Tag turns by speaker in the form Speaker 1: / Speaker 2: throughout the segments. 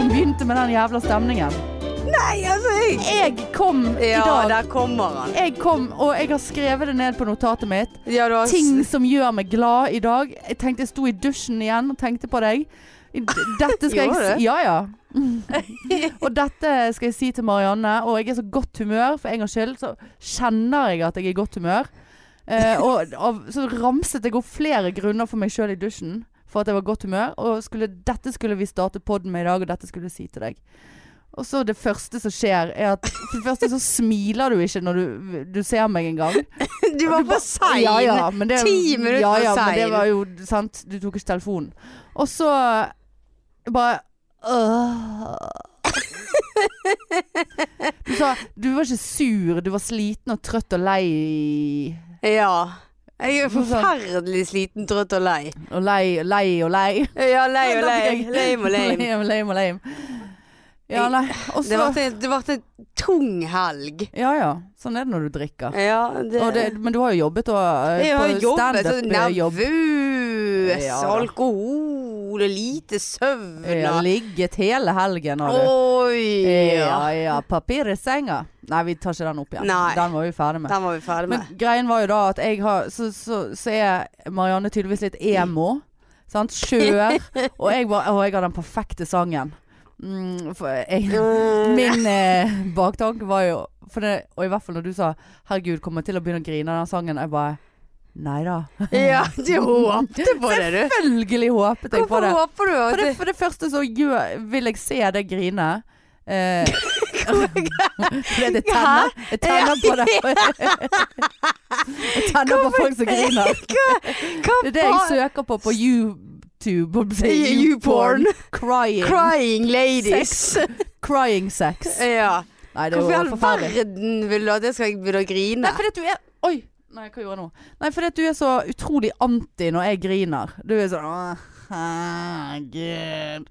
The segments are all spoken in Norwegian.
Speaker 1: den jævla stemningen.
Speaker 2: Nei, altså jeg
Speaker 1: Jeg kom i
Speaker 2: Ja,
Speaker 1: dag.
Speaker 2: der kommer han.
Speaker 1: Jeg kom, og jeg har skrevet det ned på notatet mitt.
Speaker 2: Ja, du har s-
Speaker 1: Ting som gjør meg glad i dag. Jeg tenkte jeg sto i dusjen igjen og tenkte på deg. I- Dette skal jeg si
Speaker 2: Gjorde du?
Speaker 1: Ja, ja. og dette skal jeg si til Marianne. Og jeg er så godt humør, for en gangs skyld så kjenner jeg at jeg er i godt humør. Eh, og av, så ramset jeg opp flere grunner for meg sjøl i dusjen for at jeg var i godt humør. Og skulle, dette skulle vi starte podden med i dag, og dette skulle jeg si til deg. Og så det første som skjer, er at For det første så smiler du ikke når du, du ser meg engang.
Speaker 2: Du var
Speaker 1: Du
Speaker 2: for
Speaker 1: ba-
Speaker 2: sein.
Speaker 1: Ja, ja, men det-
Speaker 2: Ti minutter
Speaker 1: ja, ja,
Speaker 2: for
Speaker 1: men det
Speaker 2: sein.
Speaker 1: var jo sant. Du tok ikke telefonen. Og så eh, bare øh. Du sa du var ikke sur, du var sliten og trøtt og lei
Speaker 2: Ja. Jeg er
Speaker 1: Hvorfor?
Speaker 2: forferdelig sliten, trøtt og lei.
Speaker 1: Og lei og lei og lei.
Speaker 2: Ja, lei og
Speaker 1: Da
Speaker 2: lei.
Speaker 1: fikk jeg-
Speaker 2: Lame og lame.
Speaker 1: Lame og lame og lame. Ja, nei. Og
Speaker 2: Det
Speaker 1: så
Speaker 2: ble, en- det ble en tung helg.
Speaker 1: Ja ja. Sånn er det når du drikker.
Speaker 2: Ja, det,
Speaker 1: Og det, men du har jo jobbet og eh,
Speaker 2: Jeg har
Speaker 1: på eh,
Speaker 2: jobbet sånn
Speaker 1: standup-jobb.
Speaker 2: nervøs,
Speaker 1: Ja, da.
Speaker 2: alkohol og lite søvn.
Speaker 1: Ja,
Speaker 2: og-
Speaker 1: eh, ligget hele helgen har du.
Speaker 2: Oi!
Speaker 1: Ja, ja. Papir i senga. Nei, vi tar ikke den opp igjen.
Speaker 2: Nei.
Speaker 1: Den var vi ferdig med.
Speaker 2: Den var vi ferdig med.
Speaker 1: Men greien var jo da at jeg har Så, så, så er Marianne tydeligvis litt emo. Sant? Skjør. Og jeg, var, og jeg har den perfekte sangen. Mm, for jeg,
Speaker 2: Mm.
Speaker 1: min eh, baktanke var jo for det, Og i hvert fall når du sa 'herregud, kommer jeg til å begynne å grine av den sangen', jeg bare Nei da.
Speaker 2: ja, du håpte på det, du.
Speaker 1: Selvfølgelig håpet jeg på
Speaker 2: Hvorfor
Speaker 1: det.
Speaker 2: håper du
Speaker 1: For
Speaker 2: at
Speaker 1: det,
Speaker 2: det
Speaker 1: for det første så gjør, vil jeg se deg grine. Eh, fordi at jeg tenner, jeg tenner på det. Jeg tenner på folk som griner.
Speaker 2: Hva
Speaker 1: Det er det jeg
Speaker 2: faen?
Speaker 1: søker på på YouTube. holdt på å si.
Speaker 2: YouPorn.
Speaker 1: Crying.
Speaker 2: Crying ladies.
Speaker 1: Sex. Crying sex.
Speaker 2: Ja.
Speaker 1: Nei, det
Speaker 2: Eh, Hvorfor i
Speaker 1: er
Speaker 2: all
Speaker 1: jo forferdelig.
Speaker 2: verden vil du at jeg skal begynne å grine?
Speaker 1: Nei, fordi at du er Oi. Nei, hva gjorde jeg nå? Nei, fordi at du er så utrolig anti når jeg griner. Du er sånn «Åh, Herregud.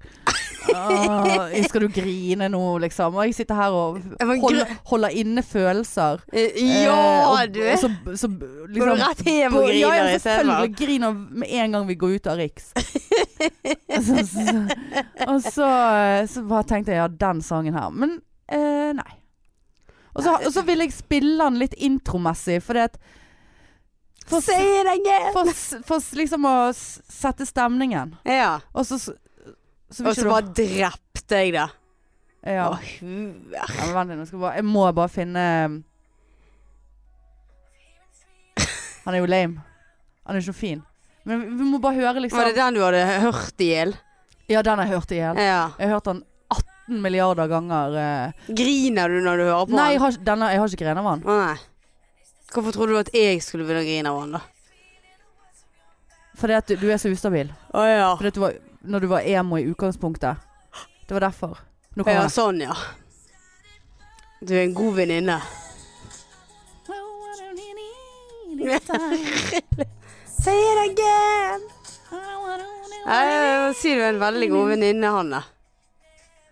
Speaker 1: Åh, skal du grine nå, liksom? Og jeg sitter her og
Speaker 2: Ja, men
Speaker 1: holder, holder inne følelser.
Speaker 2: Eh,
Speaker 1: Eh,
Speaker 2: Ja,
Speaker 1: og-
Speaker 2: du.
Speaker 1: og Så, så
Speaker 2: Går
Speaker 1: liksom
Speaker 2: du rett hjem
Speaker 1: på-
Speaker 2: og
Speaker 1: ja,
Speaker 2: griner
Speaker 1: ja,
Speaker 2: istedenfor?
Speaker 1: selvfølgelig griner med en gang vi går ut av Riks. så, så, og så, eh, så bare tenkte jeg ja, den sangen her. Men eh, nei. Og så, og så vil jeg spille den litt intromessig, fordi at for,
Speaker 2: Si det igjen!
Speaker 1: for, for liksom å s- sette stemningen.
Speaker 2: Ja.
Speaker 1: Og så så, så vil
Speaker 2: Og
Speaker 1: ikke
Speaker 2: så
Speaker 1: du-
Speaker 2: bare drepte jeg det.
Speaker 1: ja.
Speaker 2: Å, huer.
Speaker 1: Ja, men vent litt, nå skal jeg bare Jeg må bare finne eh, Han er jo lame. Han er ikke så fin. Men vi- vi må bare høre, liksom.
Speaker 2: Var det den du hadde hørt i hjel?
Speaker 1: Ja, den har jeg hørt i hjel.
Speaker 2: Ja.
Speaker 1: Jeg har hørt den 18 milliarder ganger. eh.
Speaker 2: Griner du når du hører på
Speaker 1: Nei, jeg
Speaker 2: den?
Speaker 1: har, ikke- denne, jeg har ikke grenet av han.
Speaker 2: Å, nei. Hvorfor trodde du at jeg skulle begynne å grine av han, da?
Speaker 1: Fordi at du, du er så ustabil.
Speaker 2: Å ja.
Speaker 1: Fordi at du var, når du var emo i utgangspunktet. Det var derfor. Nå
Speaker 2: Å, ja.
Speaker 1: kommer det.
Speaker 2: Sånn, ja. Du er en god venninne. Si det igjen! Jeg sier du er en veldig god venninne, Hanne.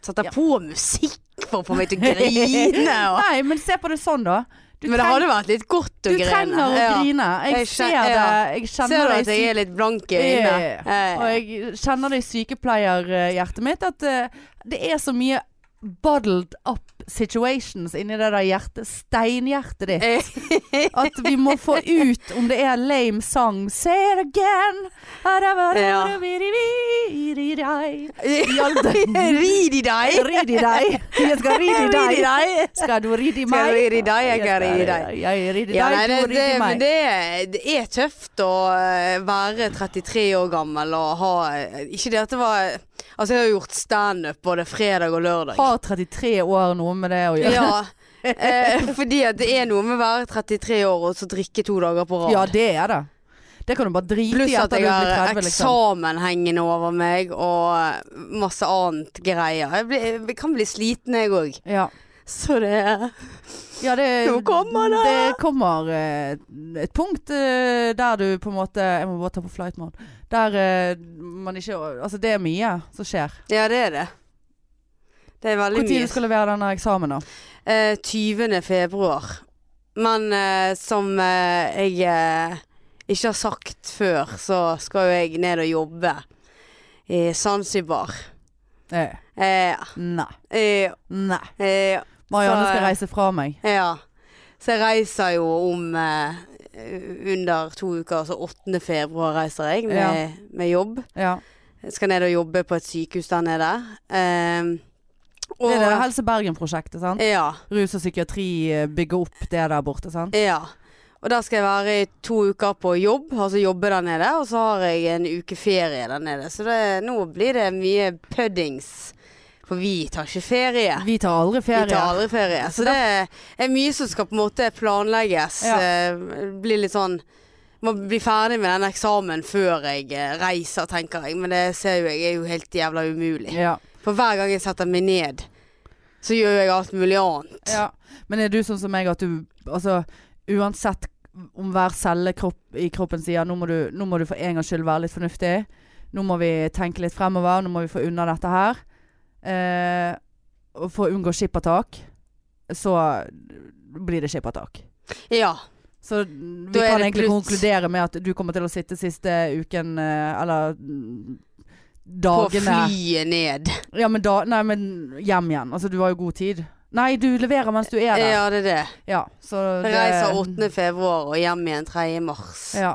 Speaker 2: Setter
Speaker 1: Ja.
Speaker 2: på musikk for å få meg til å grine. Og.
Speaker 1: Nei, men se på det sånn, da. Du
Speaker 2: Men det
Speaker 1: treng-
Speaker 2: hadde vært litt godt å
Speaker 1: Du
Speaker 2: grine.
Speaker 1: trenger å
Speaker 2: Ja.
Speaker 1: grine. Jeg,
Speaker 2: Jeg
Speaker 1: ser
Speaker 2: kjen-
Speaker 1: det.
Speaker 2: ja.
Speaker 1: Jeg
Speaker 2: Ser
Speaker 1: kjenner
Speaker 2: du
Speaker 1: det i
Speaker 2: at jeg er litt blank i
Speaker 1: Ja,
Speaker 2: øynene?
Speaker 1: ja, sy- og jeg kjenner det i sykepleierhjertet mitt at eh, det er så mye Bottled up situations inni det der hjertet, steinhjertet ditt. At vi må få ut om det er lame sang. Say it again.
Speaker 2: Ja. Rid i deg!
Speaker 1: Rid i deg. Jeg skal ride i
Speaker 2: Rid i
Speaker 1: deg.
Speaker 2: deg!
Speaker 1: Skal du ride i
Speaker 2: Skal
Speaker 1: meg?
Speaker 2: du ride i deg? Jeg kan ride i deg.
Speaker 1: Jeg rider i
Speaker 2: Ja,
Speaker 1: deg,
Speaker 2: nei, det,
Speaker 1: du
Speaker 2: det,
Speaker 1: rider i meg.
Speaker 2: men det, det er tøft å eh, være 33 år gammel og ha eh, Ikke det at det var Altså, jeg har gjort standup både fredag og lørdag.
Speaker 1: Har 33 år noe med det å gjøre?
Speaker 2: Ja, eh, fordi at det er noe med å være 33 år og så drikke to dager på rad.
Speaker 1: Ja, det er det. Det kan du bare drite
Speaker 2: Pluss
Speaker 1: i
Speaker 2: at
Speaker 1: etter
Speaker 2: jeg
Speaker 1: du blir
Speaker 2: har
Speaker 1: 30, liksom.
Speaker 2: eksamen hengende over meg og eh, masse annet greier. Jeg, blir, jeg kan bli sliten jeg òg.
Speaker 1: Ja.
Speaker 2: Så det er
Speaker 1: Ja, det,
Speaker 2: Nå kommer det!
Speaker 1: det kommer eh, et punkt eh, der du på en måte Jeg må bare ta på flight mode. Der eh, man ikke Altså, det er mye som skjer.
Speaker 2: Ja, det er det. Det er veldig
Speaker 1: Når
Speaker 2: mye.
Speaker 1: skal du levere denne eksamen, da?
Speaker 2: Eh, 20. februar. Men eh, som eh, jeg eh, ikke har sagt før, så skal jo jeg ned og jobbe i Zanzibar.
Speaker 1: Eh,
Speaker 2: Eh,
Speaker 1: Nei.
Speaker 2: eh,
Speaker 1: Nei.
Speaker 2: eh,
Speaker 1: Marianne
Speaker 2: Så,
Speaker 1: skal
Speaker 2: eh,
Speaker 1: reise fra meg.
Speaker 2: ja. Så jeg reiser jo om eh, under to uker, altså 8. februar reiser jeg med,
Speaker 1: Ja.
Speaker 2: med jobb.
Speaker 1: Ja.
Speaker 2: Jeg skal ned og jobbe på et sykehus der nede. Eh, og, Eh.
Speaker 1: Det er det Helse Bergen-prosjektet, sant?
Speaker 2: Ja.
Speaker 1: Rus og psykiatri eh, bygger opp det der borte, sant?
Speaker 2: Ja. Og der skal jeg være i to uker på jobb, altså jobbe der nede. Og så har jeg en uke ferie der nede. Så det, nå blir det mye puddings. For vi tar ikke ferie.
Speaker 1: Vi tar aldri
Speaker 2: Vi
Speaker 1: ferie.
Speaker 2: tar aldri ferie. Så det er mye som skal på en måte planlegges.
Speaker 1: Ja.
Speaker 2: eh, Bli litt sånn Må bli ferdig med den eksamen før jeg eh, reiser, tenker jeg. Men det ser jo jeg er jo helt jævla umulig.
Speaker 1: Ja.
Speaker 2: For hver gang jeg setter meg ned, så gjør jeg alt mulig annet.
Speaker 1: ja. Men er du sånn som meg at du Altså uansett om hver celle kropp, i kroppen sier nå må, du, nå må du for en gangs skyld være litt fornuftig. Nå må vi tenke litt fremover. Nå må vi få unna dette her. Eh, og for å unngå skippertak, så blir det skippertak.
Speaker 2: Ja.
Speaker 1: Så vi
Speaker 2: Da er
Speaker 1: kan
Speaker 2: det
Speaker 1: egentlig
Speaker 2: pluts-
Speaker 1: konkludere med at du kommer til å sitte siste uken eh, Eller mm,
Speaker 2: På
Speaker 1: dagene
Speaker 2: flyet ned.
Speaker 1: Ja, men da Nei, men hjem igjen. Altså, du har jo god tid. Nei, du leverer mens du er der. Ja,
Speaker 2: Ja, det er det.
Speaker 1: så
Speaker 2: Jeg
Speaker 1: det
Speaker 2: Reiser 8. februar og hjem igjen 3. mars.
Speaker 1: Ja.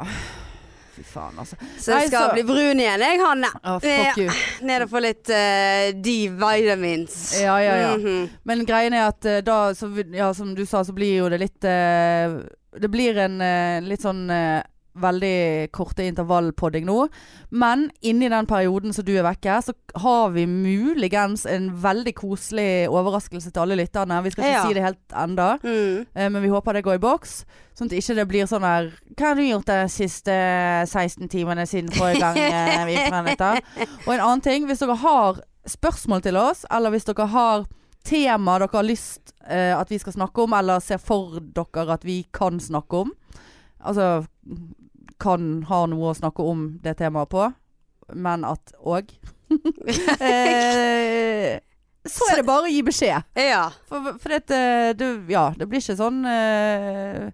Speaker 1: Fy faen, altså.
Speaker 2: Så jeg
Speaker 1: Nei,
Speaker 2: skal
Speaker 1: så-
Speaker 2: bli brun igjen, jeg, Hanne.
Speaker 1: Ah,
Speaker 2: Ja.
Speaker 1: fuck you.
Speaker 2: Ned og få litt eh, D-vitamins.
Speaker 1: Ja, ja, ja.
Speaker 2: Mhm.
Speaker 1: Men greien er at eh, da, så, vi- ja, som du sa, så blir jo det litt eh, Det blir en eh, litt sånn eh, veldig korte intervallpodding nå. Men inni den perioden som du er vekke, så har vi muligens en veldig koselig overraskelse til alle lytterne. Vi skal ikke
Speaker 2: Ja.
Speaker 1: si det helt enda,
Speaker 2: Mm.
Speaker 1: eh, men vi håper det går i boks. Sånn at ikke det blir sånn her Hva har du gjort de siste 16 timene siden forrige gang eh, vi planlet da? Og en annen ting, hvis dere har spørsmål til oss, eller hvis dere har tema dere har lyst eh, at vi skal snakke om, eller ser for dere at vi kan snakke om, altså kan ha noe å snakke om det temaet på, men at òg eh, Så er det bare å gi beskjed.
Speaker 2: Ja.
Speaker 1: For, for det, det, ja, det blir ikke sånn eh,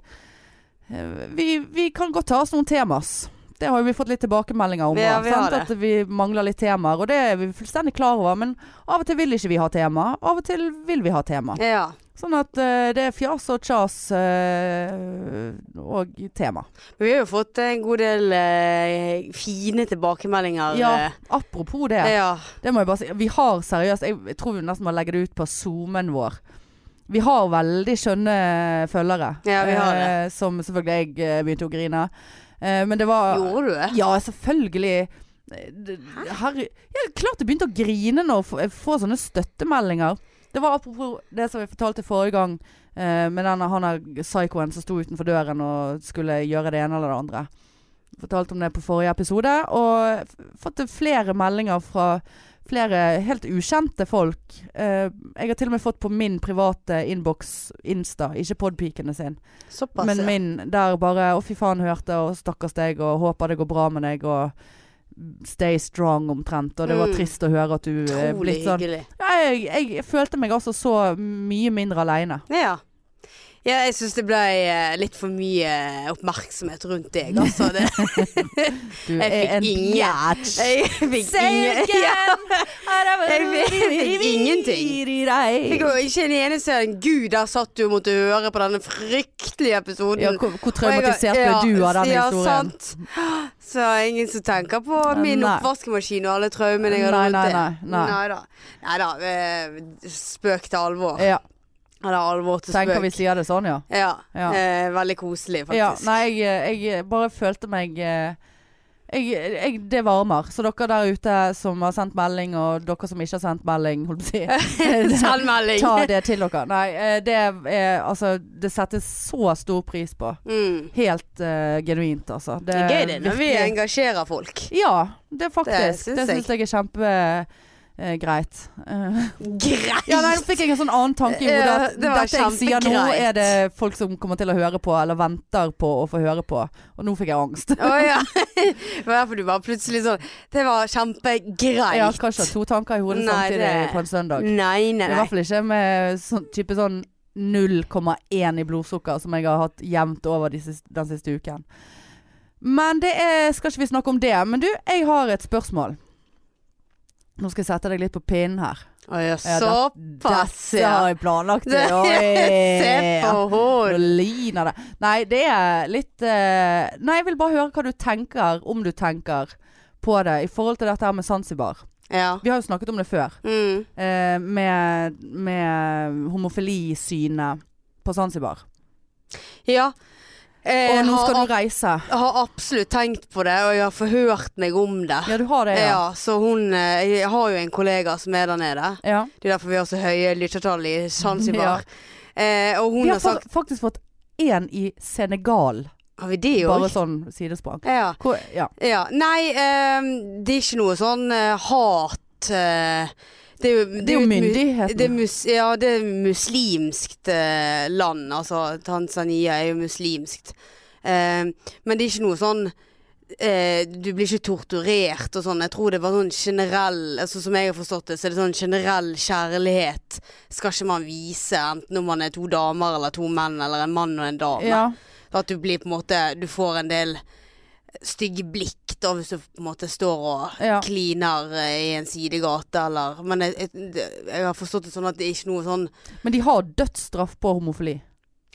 Speaker 1: eh, vi, vi kan godt ta oss noen temas. Det har jo vi fått litt tilbakemeldinger om.
Speaker 2: Ja,
Speaker 1: også,
Speaker 2: vi har
Speaker 1: sant? At vi mangler litt temaer, og det er vi fullstendig klar over. Men av og til vil ikke vi ha tema. Av og til vil vi ha tema.
Speaker 2: ja.
Speaker 1: Sånn at eh, det er fjas og kjas eh, og tema.
Speaker 2: Vi har jo fått en god del eh, fine tilbakemeldinger.
Speaker 1: Ja,
Speaker 2: eh.
Speaker 1: apropos det.
Speaker 2: ja.
Speaker 1: Det må jeg bare si. Vi har seriøst Jeg jeg tror vi nesten må legge det ut på Zoomen vår. Vi har veldig skjønne følgere.
Speaker 2: Ja, vi har det.
Speaker 1: Eh, som selvfølgelig jeg eh, begynte å grine. Eh, men det var
Speaker 2: Gjorde du det?
Speaker 1: Ja, selvfølgelig. Eh, det- Herre Ja, klart jeg begynte å grine når jeg får- jeg får sånne støttemeldinger. Det var apropos det som jeg fortalte forrige gang, eh, med denne, han her psykoen som sto utenfor døren og skulle gjøre det ene eller det andre. Fortalte om det på forrige episode, og f- fått flere meldinger fra flere helt ukjente folk. Eh, Jeg har til og med fått på min private innboks Insta, ikke podpikene sin.
Speaker 2: Såpass, eh,
Speaker 1: Men
Speaker 2: ja.
Speaker 1: min der bare Å, fy faen, hørte, og stakkars deg, og håper det går bra med deg, og stay strong omtrent. Og det var
Speaker 2: Mm.
Speaker 1: trist å høre at du eh,
Speaker 2: Utrolig
Speaker 1: blitt sånn.
Speaker 2: hyggelig.
Speaker 1: Ja, jeg, jeg følte meg altså så mye mindre aleine.
Speaker 2: Ja. Ja, jeg syns det ble eh, litt for mye eh, oppmerksomhet rundt deg, altså. Det,
Speaker 1: Du
Speaker 2: Jeg fikk
Speaker 1: er en
Speaker 2: ingen-
Speaker 1: bjæsj.
Speaker 2: jeg fikk ingen Jeg fikk ingenting. Jeg Fikk jo ikke en eneste en Gud, der satt du og måtte høre på denne fryktelige episoden.
Speaker 1: Ja, hvor, hvor
Speaker 2: Og jeg har-
Speaker 1: traumatisert ble
Speaker 2: ja,
Speaker 1: du av den
Speaker 2: ja,
Speaker 1: historien?
Speaker 2: Sant. Så er det ingen som tenker på min
Speaker 1: Nei.
Speaker 2: oppvaskemaskin og alle traumene jeg hadde
Speaker 1: Nei,
Speaker 2: rundt
Speaker 1: nei,
Speaker 2: det.
Speaker 1: nei. nei.
Speaker 2: Neida. Neida, eh, Spøk til alvor.
Speaker 1: Ja,
Speaker 2: Eller alvor til
Speaker 1: tenker vi
Speaker 2: spøk.
Speaker 1: sier det sånn, ja.
Speaker 2: Ja.
Speaker 1: Ja.
Speaker 2: Eh, veldig koselig, faktisk.
Speaker 1: Ja, nei, jeg, jeg bare følte meg eh, jeg, jeg, Det varmer. Så dere der ute som har sendt melding, og dere som ikke har sendt melding, holdt jeg på å si.
Speaker 2: Selvmelding.
Speaker 1: Ta det til dere. Nei, eh, det er altså Det settes så stor pris på.
Speaker 2: Mm.
Speaker 1: Helt eh, genuint, altså.
Speaker 2: Det er gøy det når vi
Speaker 1: virkelig-
Speaker 2: engasjerer folk.
Speaker 1: Ja, det er faktisk.
Speaker 2: syns
Speaker 1: Det syns jeg er kjempegreit.
Speaker 2: Greit!
Speaker 1: ja, nei, nå fikk jeg en sånn annen tanke i hodet.
Speaker 2: Ja,
Speaker 1: At
Speaker 2: det var
Speaker 1: dette jeg sier nå,
Speaker 2: kjempegreit.
Speaker 1: er det folk som kommer til å høre på, eller venter på å få høre på. Og nå fikk jeg angst.
Speaker 2: Å ja. Det var derfor du bare plutselig sånn Det var kjempegreit.
Speaker 1: Ja, kanskje ha to tanker i hodet
Speaker 2: Nei,
Speaker 1: samtidig
Speaker 2: det-
Speaker 1: på en søndag.
Speaker 2: Nei, nei,
Speaker 1: I
Speaker 2: nei.
Speaker 1: hvert fall ikke med sånn, type sånn 0,1 i blodsukker som jeg har hatt jevnt over de siste, den siste uken. Men det er, skal ikke vi snakke om det. Men du, jeg har et spørsmål. Nå skal jeg sette deg litt på pinnen her.
Speaker 2: Å
Speaker 1: Ja,
Speaker 2: ja,
Speaker 1: det-
Speaker 2: såpass,
Speaker 1: Dette har
Speaker 2: ja.
Speaker 1: jeg planlagt.
Speaker 2: Det- Se
Speaker 1: Oi.
Speaker 2: på
Speaker 1: Nå
Speaker 2: hun.
Speaker 1: liner det. Nei, det er litt eh, Nei, jeg vil bare høre hva du tenker, om du tenker på det, i forhold til dette her med Zanzibar.
Speaker 2: Ja.
Speaker 1: Vi har jo snakket om det før,
Speaker 2: Mm.
Speaker 1: eh, med, med homofilisynet på Zanzibar.
Speaker 2: Ja. Eh,
Speaker 1: Og nå
Speaker 2: har
Speaker 1: skal
Speaker 2: ab-
Speaker 1: du reise.
Speaker 2: Jeg har absolutt tenkt på det, og jeg har forhørt meg om det.
Speaker 1: Ja, du har det, ja.
Speaker 2: Ja, så hun eh, Jeg har jo en kollega som er der nede.
Speaker 1: ja.
Speaker 2: Det er derfor vi har så høye lyttertall i Zanzibar. Eh, og hun
Speaker 1: Vi
Speaker 2: har
Speaker 1: har fa
Speaker 2: sagt
Speaker 1: faktisk fått én i Senegal,
Speaker 2: Har vi det
Speaker 1: bare
Speaker 2: òg?
Speaker 1: sånn sidesprang.
Speaker 2: Ja.
Speaker 1: Hvor, ja.
Speaker 2: ja. Nei, eh, det er ikke noe sånn eh, hat eh, det, er jo,
Speaker 1: Det er jo
Speaker 2: et mu-
Speaker 1: myndigheten.
Speaker 2: Det er mus ja, det er muslimskt eh, land. Altså, Tanzania er jo muslimskt. Eh, men det er ikke noe sånn eh, Du blir ikke torturert og sånn. Jeg tror det var sånn generell altså, Som jeg har forstått det, så er det sånn generell kjærlighet skal ikke man vise, enten om man er to damer eller to menn, eller en mann og en dame.
Speaker 1: ja.
Speaker 2: At du blir på en måte Du får en del stygge blikk da, hvis du på en måte står og
Speaker 1: Ja.
Speaker 2: kliner eh, i en sidegate eller Men jeg, jeg, det- jeg har forstått det sånn at det er ikke noe sånn
Speaker 1: Men de har dødsstraff på homofili.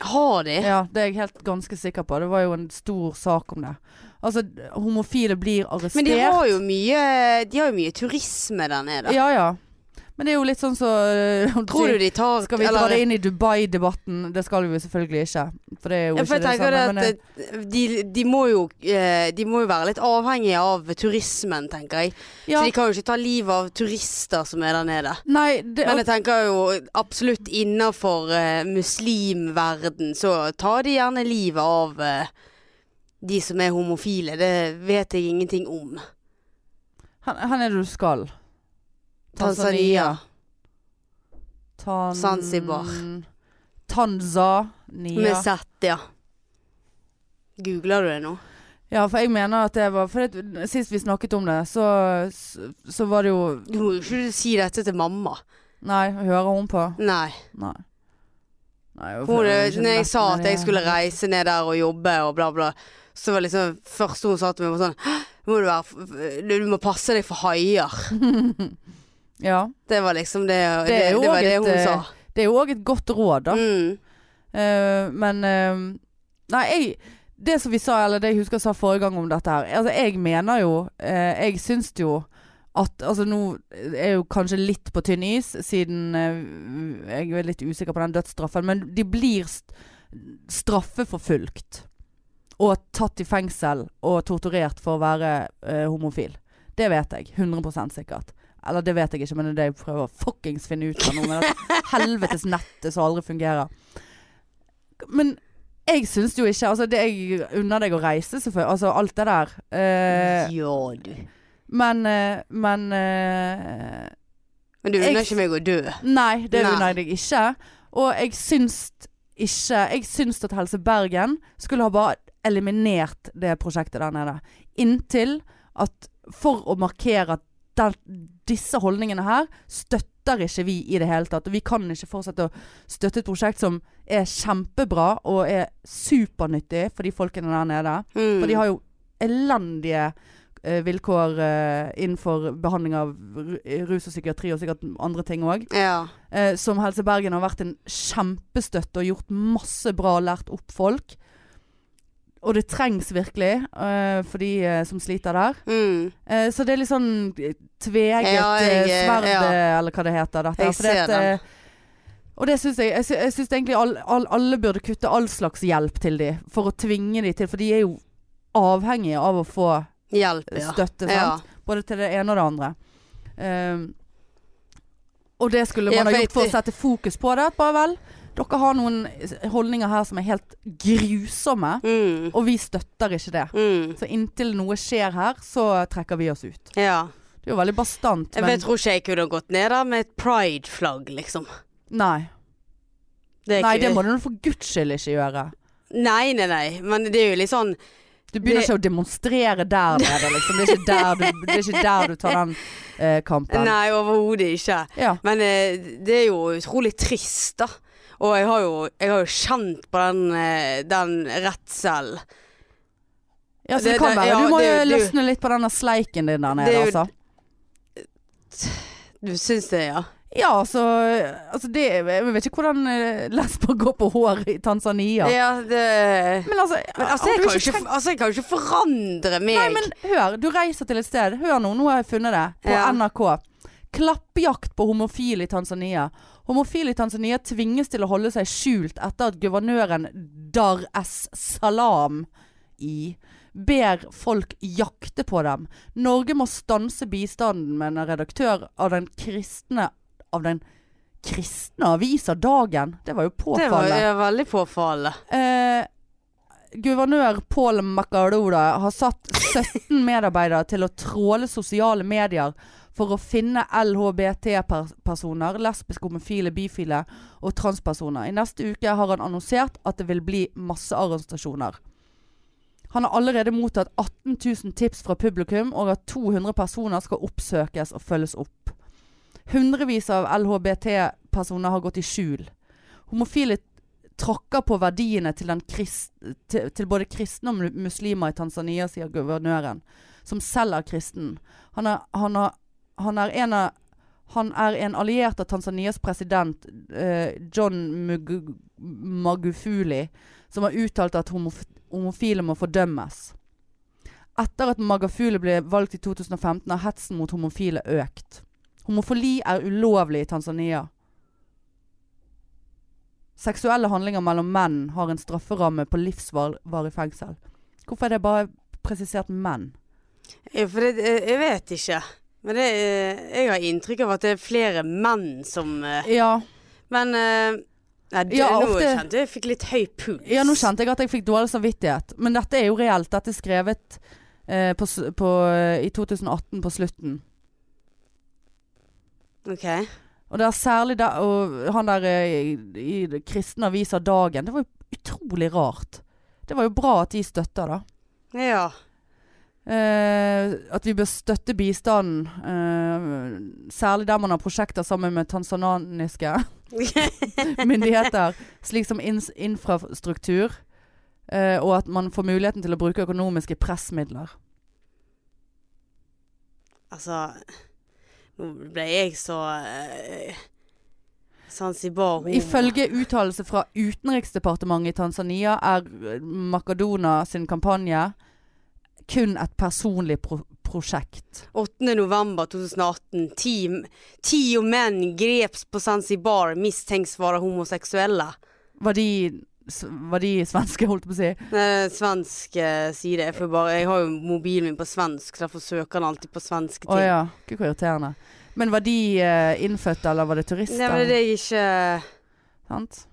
Speaker 2: Har de?
Speaker 1: Ja, det er jeg helt ganske sikker på. Det var jo en stor sak om det. Altså, homofile blir arrestert.
Speaker 2: Men de har jo mye De har jo mye turisme der nede.
Speaker 1: Ja, ja. Men det er jo litt sånn så
Speaker 2: Tror du de tar
Speaker 1: Skal vi dra det inn i Dubai-debatten? Det skal vi jo selvfølgelig ikke. For det er jo
Speaker 2: Ja, for
Speaker 1: ikke
Speaker 2: jeg
Speaker 1: det
Speaker 2: tenker
Speaker 1: samme.
Speaker 2: det
Speaker 1: men, eh,
Speaker 2: at eh, de, de må jo eh, De må jo være litt avhengige av turismen, tenker jeg.
Speaker 1: ja.
Speaker 2: Så de kan jo ikke ta livet av turister som er der nede.
Speaker 1: Nei, det,
Speaker 2: Men jeg tenker jo absolutt innafor eh, muslimverden så tar de gjerne livet av eh, de som er homofile. Det vet jeg ingenting om.
Speaker 1: han, han er det du skal.
Speaker 2: Tanzania.
Speaker 1: Tan...
Speaker 2: Zanzibar. Med
Speaker 1: Tanzania.
Speaker 2: Z, ja. Googler du det nå?
Speaker 1: Ja, for jeg mener at det var For det, sist vi snakket om det, så, så, så var det jo
Speaker 2: Du må jo ikke si dette til mamma.
Speaker 1: Nei, hører hun på?
Speaker 2: Nei.
Speaker 1: Nei. Nei jeg
Speaker 2: Hun, eh,
Speaker 1: føler ikke
Speaker 2: når jeg sa
Speaker 1: nettene
Speaker 2: at jeg
Speaker 1: de-
Speaker 2: skulle reise ned der og jobbe og bla, bla, så var liksom første hun sa til meg, var sånn «Hæ? må du, være, f- du må passe deg for haier.
Speaker 1: Ja.
Speaker 2: Det var liksom det
Speaker 1: Det
Speaker 2: Det, det,
Speaker 1: er jo
Speaker 2: var
Speaker 1: også
Speaker 2: det
Speaker 1: et,
Speaker 2: hun
Speaker 1: eh,
Speaker 2: sa.
Speaker 1: Det er jo òg et godt råd, da.
Speaker 2: Mm.
Speaker 1: Eh, men eh, Nei, jeg Det som vi sa, eller det jeg husker jeg sa forrige gang om dette her Altså, jeg mener jo eh, Jeg syns jo at Altså, nå er jeg jo kanskje litt på tynn is, siden eh, jeg er litt usikker på den dødsstraffen, men de blir st straffeforfulgt. Og tatt i fengsel og torturert for å være eh, homofil. Det vet jeg. 100 sikkert. Eller det vet jeg ikke, men det er det jeg prøver å fuckings finne ut av nå med dette helvetes nettet som aldri fungerer. Men jeg syns jo ikke Altså, det jeg unner deg å reise, selvfølgelig. Altså, alt det der. Eh,
Speaker 2: ja, du.
Speaker 1: men eh, Men eh,
Speaker 2: Men du
Speaker 1: Jeg-
Speaker 2: unner ikke meg å dø.
Speaker 1: Nei, det
Speaker 2: Nei.
Speaker 1: unner jeg deg ikke. Og jeg syns ikke Jeg syns at Helse Bergen skulle ha bare eliminert det prosjektet der nede. Inntil at For å markere at den, disse holdningene her støtter ikke vi i det hele tatt. Og vi kan ikke fortsette å støtte et prosjekt som er kjempebra og er supernyttig for de folkene der nede.
Speaker 2: Mm.
Speaker 1: For de har jo elendige eh, vilkår eh, innenfor behandling av ru- rus og psykiatri og sikkert andre ting òg.
Speaker 2: ja.
Speaker 1: Eh, som Helse Bergen har vært en kjempestøtte og gjort masse bra, lært opp folk. Og det trengs virkelig eh, for de eh, som sliter der.
Speaker 2: Mm.
Speaker 1: Eh, så det er litt sånn tveget
Speaker 2: Ja, jeg,
Speaker 1: eh,
Speaker 2: eh,
Speaker 1: sverd,
Speaker 2: ja.
Speaker 1: eh, eller hva det heter. Dette.
Speaker 2: Jeg
Speaker 1: fordi
Speaker 2: ser
Speaker 1: at, eh, Og det syns jeg. Jeg sy- Jeg syns egentlig all, all, alle burde kutte all slags hjelp til de, for å tvinge de til. For de er jo avhengige av å få
Speaker 2: Hjelp, ja.
Speaker 1: støtte, sant.
Speaker 2: Ja.
Speaker 1: Både til det ene og det andre. Ehm, og det skulle
Speaker 2: Ja,
Speaker 1: man
Speaker 2: for
Speaker 1: ha
Speaker 2: jeg-
Speaker 1: gjort for å sette fokus på det. at Bare vel, dere har noen holdninger her som er helt grusomme,
Speaker 2: Mm.
Speaker 1: og vi støtter ikke det.
Speaker 2: Mm.
Speaker 1: Så inntil noe skjer her, så trekker vi oss ut.
Speaker 2: ja.
Speaker 1: Det er jo veldig bastant,
Speaker 2: Jeg
Speaker 1: men
Speaker 2: vet, tror ikke jeg kunne gått ned der med et pride-flagg, liksom.
Speaker 1: nei.
Speaker 2: Det er
Speaker 1: Nei,
Speaker 2: ikke-
Speaker 1: det må du for guds skyld ikke gjøre.
Speaker 2: Nei, nei, nei. Men det er jo litt sånn
Speaker 1: Du begynner
Speaker 2: Det-
Speaker 1: ikke å demonstrere der nede, liksom. Det er ikke der du, det er ikke der du tar den eh, kampen.
Speaker 2: Nei, overhodet ikke.
Speaker 1: Ja.
Speaker 2: Men eh, det er jo utrolig trist, da. Og jeg har jo, jeg har jo kjent på den, eh, den redselen.
Speaker 1: ja, så det
Speaker 2: Det-
Speaker 1: kan
Speaker 2: det-
Speaker 1: være.
Speaker 2: ja,
Speaker 1: Du må
Speaker 2: det-
Speaker 1: jo
Speaker 2: det-
Speaker 1: altså. løsne litt på denne sleiken din der nede,
Speaker 2: Det er jo-
Speaker 1: altså.
Speaker 2: Du syns det, ja?
Speaker 1: Ja, så altså det, Jeg vet ikke hvordan eh, lesber går på hår i Tanzania.
Speaker 2: det
Speaker 1: Men altså,
Speaker 2: men altså, jeg
Speaker 1: hadde du
Speaker 2: kan jo ikke,
Speaker 1: trengt-
Speaker 2: altså, jeg kan jo ikke forandre meg.
Speaker 1: Nei, men hør. Du reiser til et sted. Hør nå, nå har jeg funnet det. På
Speaker 2: Ja.
Speaker 1: NRK. Klappjakt på homofile i Tanzania. Homofile i Tanzania tvinges til å holde seg skjult etter at guvernøren Dar es Salam i ber folk jakte på dem. Norge må stanse bistanden, mener redaktør av den kristne av den kristne avisa Dagen. Det var jo
Speaker 2: det var
Speaker 1: påfallende.
Speaker 2: ja, veldig påfallende.
Speaker 1: Eh, guvernør Paul Macaroda har satt 17 medarbeidere til å tråle sosiale medier for å finne LHBT-personer, lesbiske, homofile, bifile og transpersoner. I neste uke har han annonsert at det vil bli massearrestasjoner. Han har allerede mottatt 18 000 tips fra publikum, og at 200 personer skal oppsøkes og følges opp. Hundrevis av LHBT-personer har gått i skjul. Homofile tråkker på verdiene til, den krist, til, til både kristne og mu- muslimer i Tanzania, sier guvernøren, som selv er kristen. Han er, han har, han er, en, av, han er en alliert av Tanzanias president eh, John Mugu, Magufuli, som har uttalt at homof homofile må fordømmes. Etter at Magafule ble valgt i 2015, har hetsen mot homofile økt. Homofili er ulovlig i Tanzania. Seksuelle handlinger mellom menn har en strafferamme på livsvarig fengsel. Hvorfor er det bare presisert menn?
Speaker 2: Ja, for det, jeg, jeg vet ikke. Men det, eh, jeg har inntrykk av at det er flere menn som eh,
Speaker 1: Ja,
Speaker 2: Men eh, Nei, det,
Speaker 1: Ja,
Speaker 2: nå
Speaker 1: ofte-
Speaker 2: kjente jeg jeg fikk litt høy puls.
Speaker 1: ja nå kjente jeg at jeg fikk dårlig samvittighet. Men dette er jo reelt. Dette er skrevet eh, på, s- på, eh, i 2018 på slutten.
Speaker 2: Ok.
Speaker 1: Og det er særlig der, og han der eh, i, i det kristne avisa Dagen. Det var jo utrolig rart. Det var jo bra at de støtter, da.
Speaker 2: Ja.
Speaker 1: Eh, at vi bør støtte bistanden, eh, særlig der man har prosjekter sammen med tanzaniske myndigheter, slik som ins- infrastruktur, eh, og at man får muligheten til å bruke økonomiske pressmidler.
Speaker 2: altså Nå ble jeg så eh, Zanzibar homo.
Speaker 1: Ifølge uttalelse fra Utenriksdepartementet i Tanzania er eh, Makadona sin kampanje kun et personlig pro prosjekt.
Speaker 2: 8. november 2018. Ti, tio män greps på Zanzibar misstänks vara homosexuella.
Speaker 1: Var de, s- var de svenske, holdt jeg på å si?
Speaker 2: Eh, svensk eh, side. Jeg, får bare, jeg har jo mobilen min på svensk, så derfor søker den alltid på svenske ting.
Speaker 1: Å ja, gud hvor irriterende. Men var de eh, innfødte, eller var det turister?
Speaker 2: Nei, men det er jeg ikke
Speaker 1: Sant?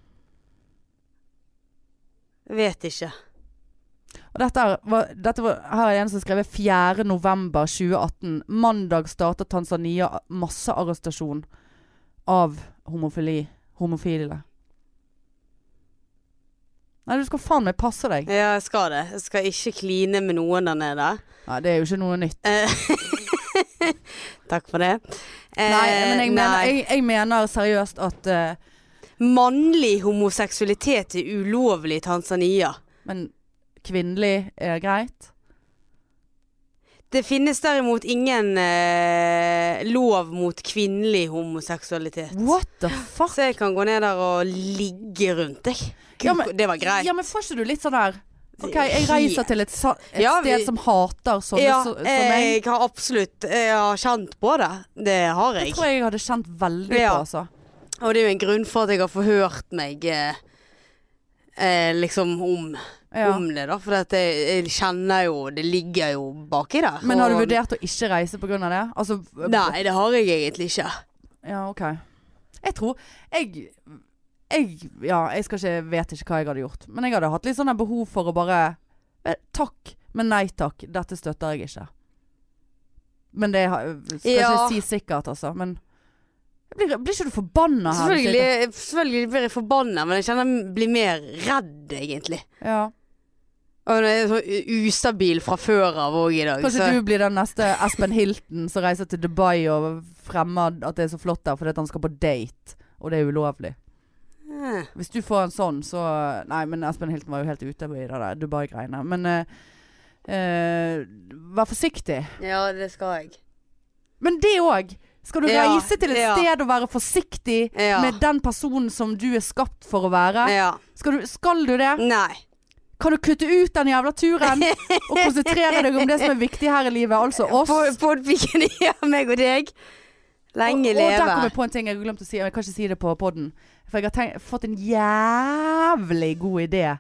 Speaker 2: Jeg vet ikke.
Speaker 1: Og dette, er, var, dette var, her er en som skrev 4. november 2018. Mandag starter Tanzania massearrestasjon av homofili. Homofile. Nei, du skal faen meg passe deg.
Speaker 2: Ja, jeg skal det. Jeg skal ikke kline med noen der nede. Eh,
Speaker 1: Nei, det er jo ikke noe nytt.
Speaker 2: Takk for det. Eh,
Speaker 1: Nei, men jeg mener,
Speaker 2: nei.
Speaker 1: jeg, jeg mener seriøst at eh,
Speaker 2: Mannlig homoseksualitet er ulovlig i Tanzania.
Speaker 1: Men kvinnelig er greit.
Speaker 2: Det finnes derimot ingen eh, lov mot kvinnelig homoseksualitet.
Speaker 1: What the fuck?
Speaker 2: Så jeg kan gå ned der og ligge rundt deg. Gud,
Speaker 1: Ja, men-
Speaker 2: det var greit.
Speaker 1: Ja, men får ikke du litt sånn der
Speaker 2: Det
Speaker 1: Ok,
Speaker 2: er
Speaker 1: jeg reiser til et, sa- et
Speaker 2: Ja, vi-
Speaker 1: sted som hater sånne
Speaker 2: Ja,
Speaker 1: så, som meg.
Speaker 2: jeg har absolutt jeg har kjent på det. Det har
Speaker 1: Det
Speaker 2: jeg.
Speaker 1: tror jeg jeg hadde kjent veldig
Speaker 2: Ja.
Speaker 1: på, altså.
Speaker 2: Og det er jo en grunn for at jeg har forhørt meg eh, eh, liksom om,
Speaker 1: Ja.
Speaker 2: om det, da. For at jeg, jeg kjenner jo Det ligger jo baki der.
Speaker 1: Men har du
Speaker 2: Og-
Speaker 1: vurdert å ikke reise pga. det? Altså, b-
Speaker 2: Nei, det har jeg egentlig ikke.
Speaker 1: Ja, OK. Jeg tror Jeg, jeg Ja, jeg skal ikke, vet ikke hva jeg hadde gjort. Men jeg hadde hatt litt sånn her behov for å bare eh, Takk, men nei takk. Dette støtter jeg ikke. Men det har- skal jeg
Speaker 2: Ja.
Speaker 1: ikke si sikkert, altså. Men blir, blir ikke du forbanna her? hvis jeg-
Speaker 2: Selvfølgelig, selvfølgelig blir jeg forbanna, men jeg kjenner jeg blir mer redd, egentlig.
Speaker 1: Ja.
Speaker 2: Og jeg er så u- ustabil fra før av òg i dag.
Speaker 1: Kanskje
Speaker 2: så-
Speaker 1: du blir den neste Espen Hilton som reiser til Dubai og fremmer at det er så flott der fordi at han skal på date, og det er ulovlig.
Speaker 2: Eh.
Speaker 1: Hvis du får en sånn, så Nei, men Espen Hilton var jo helt ute i det der Dubai-greiene. Men eh, eh, vær forsiktig.
Speaker 2: Ja, det skal jeg.
Speaker 1: Men det òg! Skal du
Speaker 2: Ja,
Speaker 1: reise til et
Speaker 2: ja.
Speaker 1: sted og være forsiktig
Speaker 2: Ja.
Speaker 1: med den personen som du er skapt for å være?
Speaker 2: Ja.
Speaker 1: Skal du, skal du det?
Speaker 2: Nei.
Speaker 1: Kan du kutte ut den jævla turen og konsentrere deg om det som er viktig her i livet, altså oss?
Speaker 2: Pod- Podpiken er meg og deg. Lenge
Speaker 1: og, og der kom
Speaker 2: leve.
Speaker 1: jeg på en ting jeg glemte å si, men jeg kan ikke si det på podden. For jeg har tenkt, fått en jævlig god idé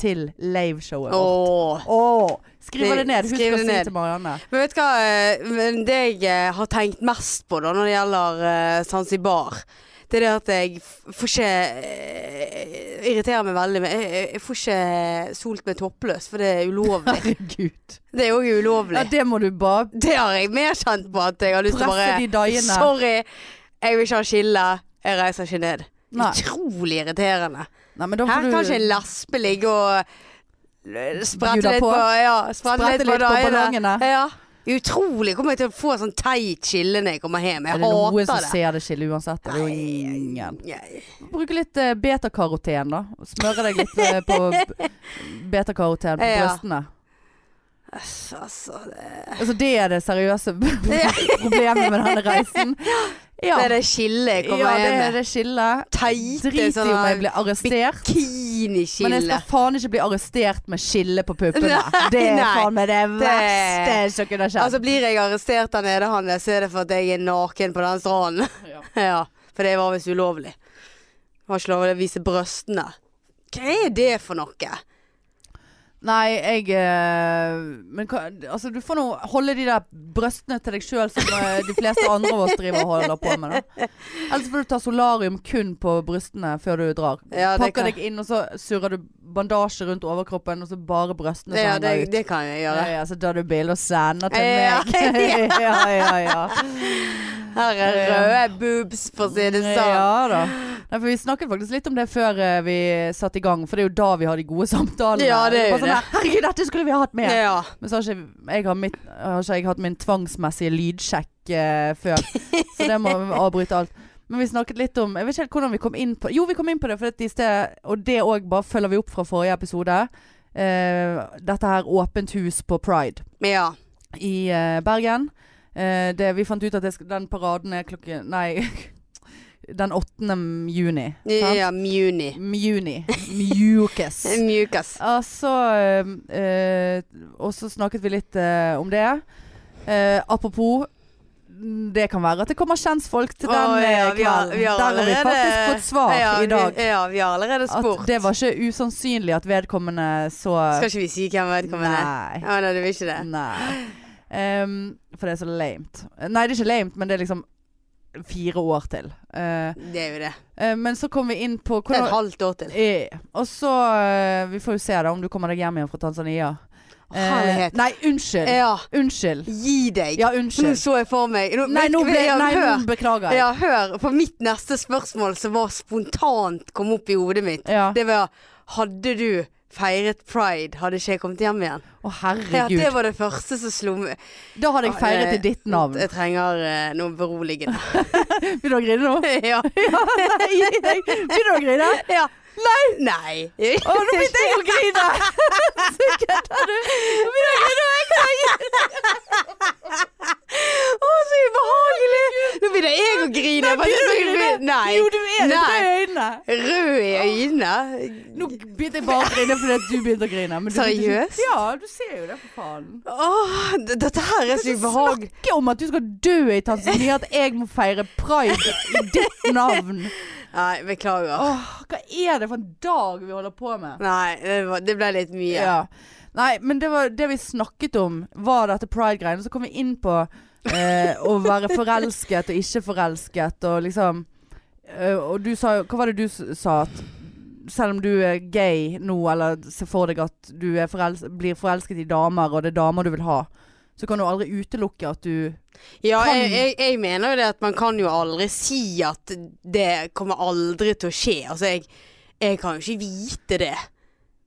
Speaker 1: til liveshowet vårt.
Speaker 2: Åh.
Speaker 1: Åh, skriv det ned. Husk
Speaker 2: Skriv
Speaker 1: å
Speaker 2: det
Speaker 1: si
Speaker 2: ned.
Speaker 1: til Marianne.
Speaker 2: Men vet du hva, eh, men det jeg eh, har tenkt mest på da når det gjelder eh, Zanzibar, det er det at jeg f- får ikke eh, Irriterer meg veldig, men jeg, jeg- jeg får ikke solt meg toppløs, for det er ulovlig.
Speaker 1: Herregud.
Speaker 2: Det er òg
Speaker 1: Ja,
Speaker 2: ulovlig.
Speaker 1: det må du bare
Speaker 2: Det har jeg mer kjent på at jeg har lyst til å
Speaker 1: presse
Speaker 2: bare
Speaker 1: de daiene.
Speaker 2: Sorry, jeg vil ikke ha skille. Jeg reiser ikke ned.
Speaker 1: Nei.
Speaker 2: Utrolig irriterende.
Speaker 1: Nei, men da
Speaker 2: Her
Speaker 1: får du
Speaker 2: kan ikke en lesbe ligge og l- sprette
Speaker 1: Bjuda
Speaker 2: litt
Speaker 1: på.
Speaker 2: på, ja, sprette
Speaker 1: sprette
Speaker 2: litt på, daiene.
Speaker 1: ballongene.
Speaker 2: Ja. Utrolig kommer jeg til å få sånn teit skille når jeg kommer hjem.
Speaker 1: Er
Speaker 2: Jeg
Speaker 1: det noen som
Speaker 2: hater det.
Speaker 1: ser det skillet uansett? Det er jo ingen.
Speaker 2: Nei.
Speaker 1: Bruke litt eh, betakaroten, da. Smøre deg litt eh, på b- betakaroten på
Speaker 2: Ja.
Speaker 1: brystene.
Speaker 2: Altså, altså, det-
Speaker 1: Altså, det er det seriøse problemet med denne reisen. Ja,
Speaker 2: det er det skillet jeg kommer
Speaker 1: ja det
Speaker 2: hjem
Speaker 1: er
Speaker 2: med.
Speaker 1: det skillet.
Speaker 2: Teite
Speaker 1: Drit i om jeg
Speaker 2: sånne
Speaker 1: blir arrestert. Men jeg
Speaker 2: bikiniskille.
Speaker 1: skal faen ikke bli arrestert med skille på puppene.
Speaker 2: Nei,
Speaker 1: Det er
Speaker 2: nei.
Speaker 1: faen meg det
Speaker 2: Det-
Speaker 1: verste som kunne skjedd.
Speaker 2: Altså Blir jeg arrestert der nede, Hanne, så er det for at jeg er naken på den stranden.
Speaker 1: Ja.
Speaker 2: ja, for det var visst ulovlig. Har ikke lov til å vise brøstene. Hva er det for noe?
Speaker 1: Nei, jeg eh, Men hva Altså, du får nå holde de der brøstene til deg sjøl som eh, de fleste andre av oss driver og holder på med, da. Ellers får du ta solarium kun på brystene før du drar.
Speaker 2: Ja, det
Speaker 1: Pakker
Speaker 2: kan-
Speaker 1: deg inn, og så surrer du bandasje rundt overkroppen, og så bare brøstene som
Speaker 2: Ja, det,
Speaker 1: henger ut.
Speaker 2: det kan jeg gjøre.
Speaker 1: Ja, ja, så tar du bilde og sender til
Speaker 2: Ja.
Speaker 1: meg. ja, ja, ja.
Speaker 2: Her er røde boobs, for å si det sånn.
Speaker 1: Ja da. Nei, for vi snakket faktisk litt om det før eh, vi satte i gang, for det er jo da vi har de gode samtalene.
Speaker 2: Ja, det er jo
Speaker 1: Bare sånn
Speaker 2: det.
Speaker 1: her, Herregud, dette skulle vi ha hatt med!
Speaker 2: Ja.
Speaker 1: Men så har ikke jeg, har mitt, har ikke jeg hatt min tvangsmessige lydsjekk eh, før, så det må vi avbryte alt. Men vi snakket litt om Jeg vet ikke helt hvordan vi kom inn på Jo, vi kom inn på det, for at i sted, og det òg bare følger vi opp fra forrige episode. Eh, dette her åpent hus på Pride
Speaker 2: ja.
Speaker 1: i eh, Bergen. Eh, det, vi fant ut at det, sk- den paraden er klokken Nei, den 8. juni.
Speaker 2: Ja,
Speaker 1: Sant?
Speaker 2: ja mjuni.
Speaker 1: Mjuni. Mjukes.
Speaker 2: Mjukas.
Speaker 1: Altså, øhm, øh, og så snakket vi litt øh, om det. Eh, apropos, det kan være at det kommer kjentfolk til den
Speaker 2: Å,
Speaker 1: eh,
Speaker 2: ja, vi har-
Speaker 1: kvelden.
Speaker 2: vi har
Speaker 1: Der har vi
Speaker 2: allerede-
Speaker 1: faktisk fått svar
Speaker 2: ja,
Speaker 1: i dag.
Speaker 2: Vi, ja, vi har allerede spurt.
Speaker 1: At det var ikke usannsynlig at vedkommende så
Speaker 2: Skal ikke vi si hvem vedkommende er?
Speaker 1: Nei.
Speaker 2: Å, nei, du vil ikke det?
Speaker 1: Nei. Ehm, for det er så lamet. Nei, det er ikke lamet, men det er liksom fire år til. Eh,
Speaker 2: Det er jo det.
Speaker 1: eh, men så kom vi inn på
Speaker 2: Det er
Speaker 1: hvordan,
Speaker 2: et halvt år til.
Speaker 1: Ja. Og så eh, Vi får jo se da om du kommer deg hjem igjen fra Tanzania. Eh,
Speaker 2: Herlighet. Eh,
Speaker 1: nei, unnskyld.
Speaker 2: Ja.
Speaker 1: Unnskyld.
Speaker 2: Gi deg.
Speaker 1: Ja,
Speaker 2: For nå
Speaker 1: unnskyld.
Speaker 2: så jeg for meg nå,
Speaker 1: Nei, nå
Speaker 2: men-
Speaker 1: ble,
Speaker 2: ja,
Speaker 1: nei, nå
Speaker 2: hør,
Speaker 1: beklager jeg.
Speaker 2: ja, hør. For mitt neste spørsmål som var spontant kom opp i hodet mitt,
Speaker 1: Ja.
Speaker 2: det var Hadde du feiret pride, hadde ikke jeg kommet hjem igjen?
Speaker 1: Å,
Speaker 2: Ja,
Speaker 1: herregud.
Speaker 2: det var det første som slo meg
Speaker 1: Da hadde jeg feiret i ditt navn.
Speaker 2: Jeg trenger eh, noe beroligende.
Speaker 1: Begynner du å grine nå?
Speaker 2: ja.
Speaker 1: Nei, jeg- Begynner du å grine?
Speaker 2: ja. Nei! Nei.
Speaker 1: Å, nå begynte jeg å grine! Så kødder du. Nå begynner jeg å grine.
Speaker 2: Å, så ubehagelig! Nå begynner jeg å grine. for
Speaker 1: Begynner du å
Speaker 2: jeg
Speaker 1: grine?
Speaker 2: skal- Nei.
Speaker 1: Jo, du er det.
Speaker 2: Nei.
Speaker 1: Tre øyne.
Speaker 2: Rød i øynene.
Speaker 1: Nå begynte jeg bare å grine fordi at du begynte å grine. men du begynte ikke-
Speaker 2: Seriøst?
Speaker 1: Ja, du ser jo det, for faen.
Speaker 2: Åh, d- dette her er så ubehagelig.
Speaker 1: Ikke om at du skal dø i Tanzania, at jeg må feire pride i ditt navn.
Speaker 2: Nei, beklager.
Speaker 1: Åh, hva er det for en dag vi holder på med?
Speaker 2: Nei, det, var, det ble litt mye.
Speaker 1: Ja. Nei, men det, var, det vi snakket om, var dette pride-greiene. Så kom vi inn på eh, å være forelsket og ikke forelsket, og liksom eh, Og du sa jo Hva var det du s- sa? At selv om du er gay nå, eller ser for deg at du er forels blir forelsket i damer, og det er damer du vil ha, så kan du aldri utelukke at du
Speaker 2: Ja,
Speaker 1: Kan-
Speaker 2: jeg, jeg, jeg mener jo det at man kan jo aldri si at det kommer aldri til å skje. Altså, jeg, jeg kan jo ikke vite det.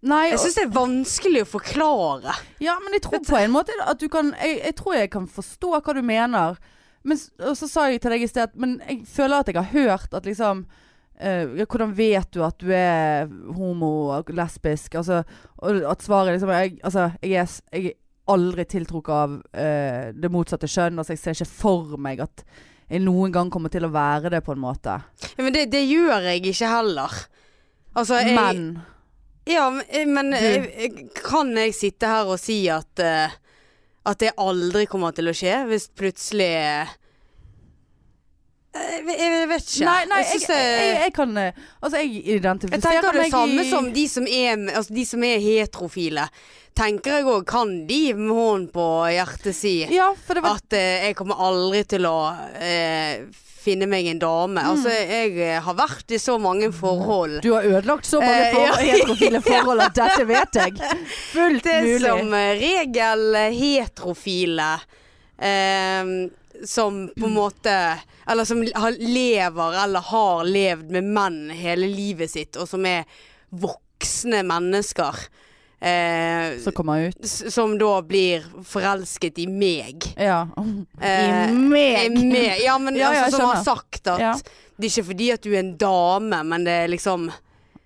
Speaker 1: Nei,
Speaker 2: Jeg
Speaker 1: og-
Speaker 2: syns det er vanskelig å forklare.
Speaker 1: Ja, men jeg tror på en måte at du kan Jeg, jeg tror jeg kan forstå hva du mener. Men, s- og så sa jeg til deg i sted at Men jeg føler at jeg har hørt at liksom eh, ja, Hvordan vet du at du er homo og lesbisk? Altså, og at svaret liksom jeg, Altså, jeg er, s- jeg er aldri tiltrukket av eh, det motsatte kjønn. Altså, jeg ser ikke for meg at jeg noen gang kommer til å være det, på en måte.
Speaker 2: Ja, men det, det gjør jeg ikke heller. Altså, jeg,
Speaker 1: Men
Speaker 2: Ja, men- eh, men
Speaker 1: Du-
Speaker 2: eh, eh, kan jeg sitte her og si at eh, At det aldri kommer til å skje hvis plutselig eh, jeg, jeg, jeg vet ikke.
Speaker 1: Nei, nei, jeg,
Speaker 2: synes
Speaker 1: jeg,
Speaker 2: det-
Speaker 1: jeg, kan eh, Altså, jeg
Speaker 2: jeg
Speaker 1: identifiserer
Speaker 2: tenker det
Speaker 1: meg
Speaker 2: samme
Speaker 1: i
Speaker 2: som de som er, altså de som er heterofile. Tenker jeg òg kan de med hånden på hjertet si
Speaker 1: Ja, for det var
Speaker 2: at eh, jeg kommer aldri til å eh, finne meg en dame. Altså, jeg eh, har vært i så mange forhold.
Speaker 1: Du har ødelagt så mange
Speaker 2: Eh,
Speaker 1: for
Speaker 2: ja.
Speaker 1: heterofile forhold at dette vet jeg. Fullt
Speaker 2: Det er
Speaker 1: mulig.
Speaker 2: som eh, regel eh, heterofile eh, som på en måte Eller som har- lever eller har levd med menn hele livet sitt, og som er voksne mennesker. Eh,
Speaker 1: Som kommer ut.
Speaker 2: s- som da blir forelsket i meg.
Speaker 1: Ja.
Speaker 2: Eh,
Speaker 1: meg.
Speaker 2: Er med, ja, men
Speaker 1: Ja, ja, jeg
Speaker 2: altså, som har
Speaker 1: skjønner.
Speaker 2: sagt at
Speaker 1: Ja.
Speaker 2: det er ikke fordi at du er en dame, men det er liksom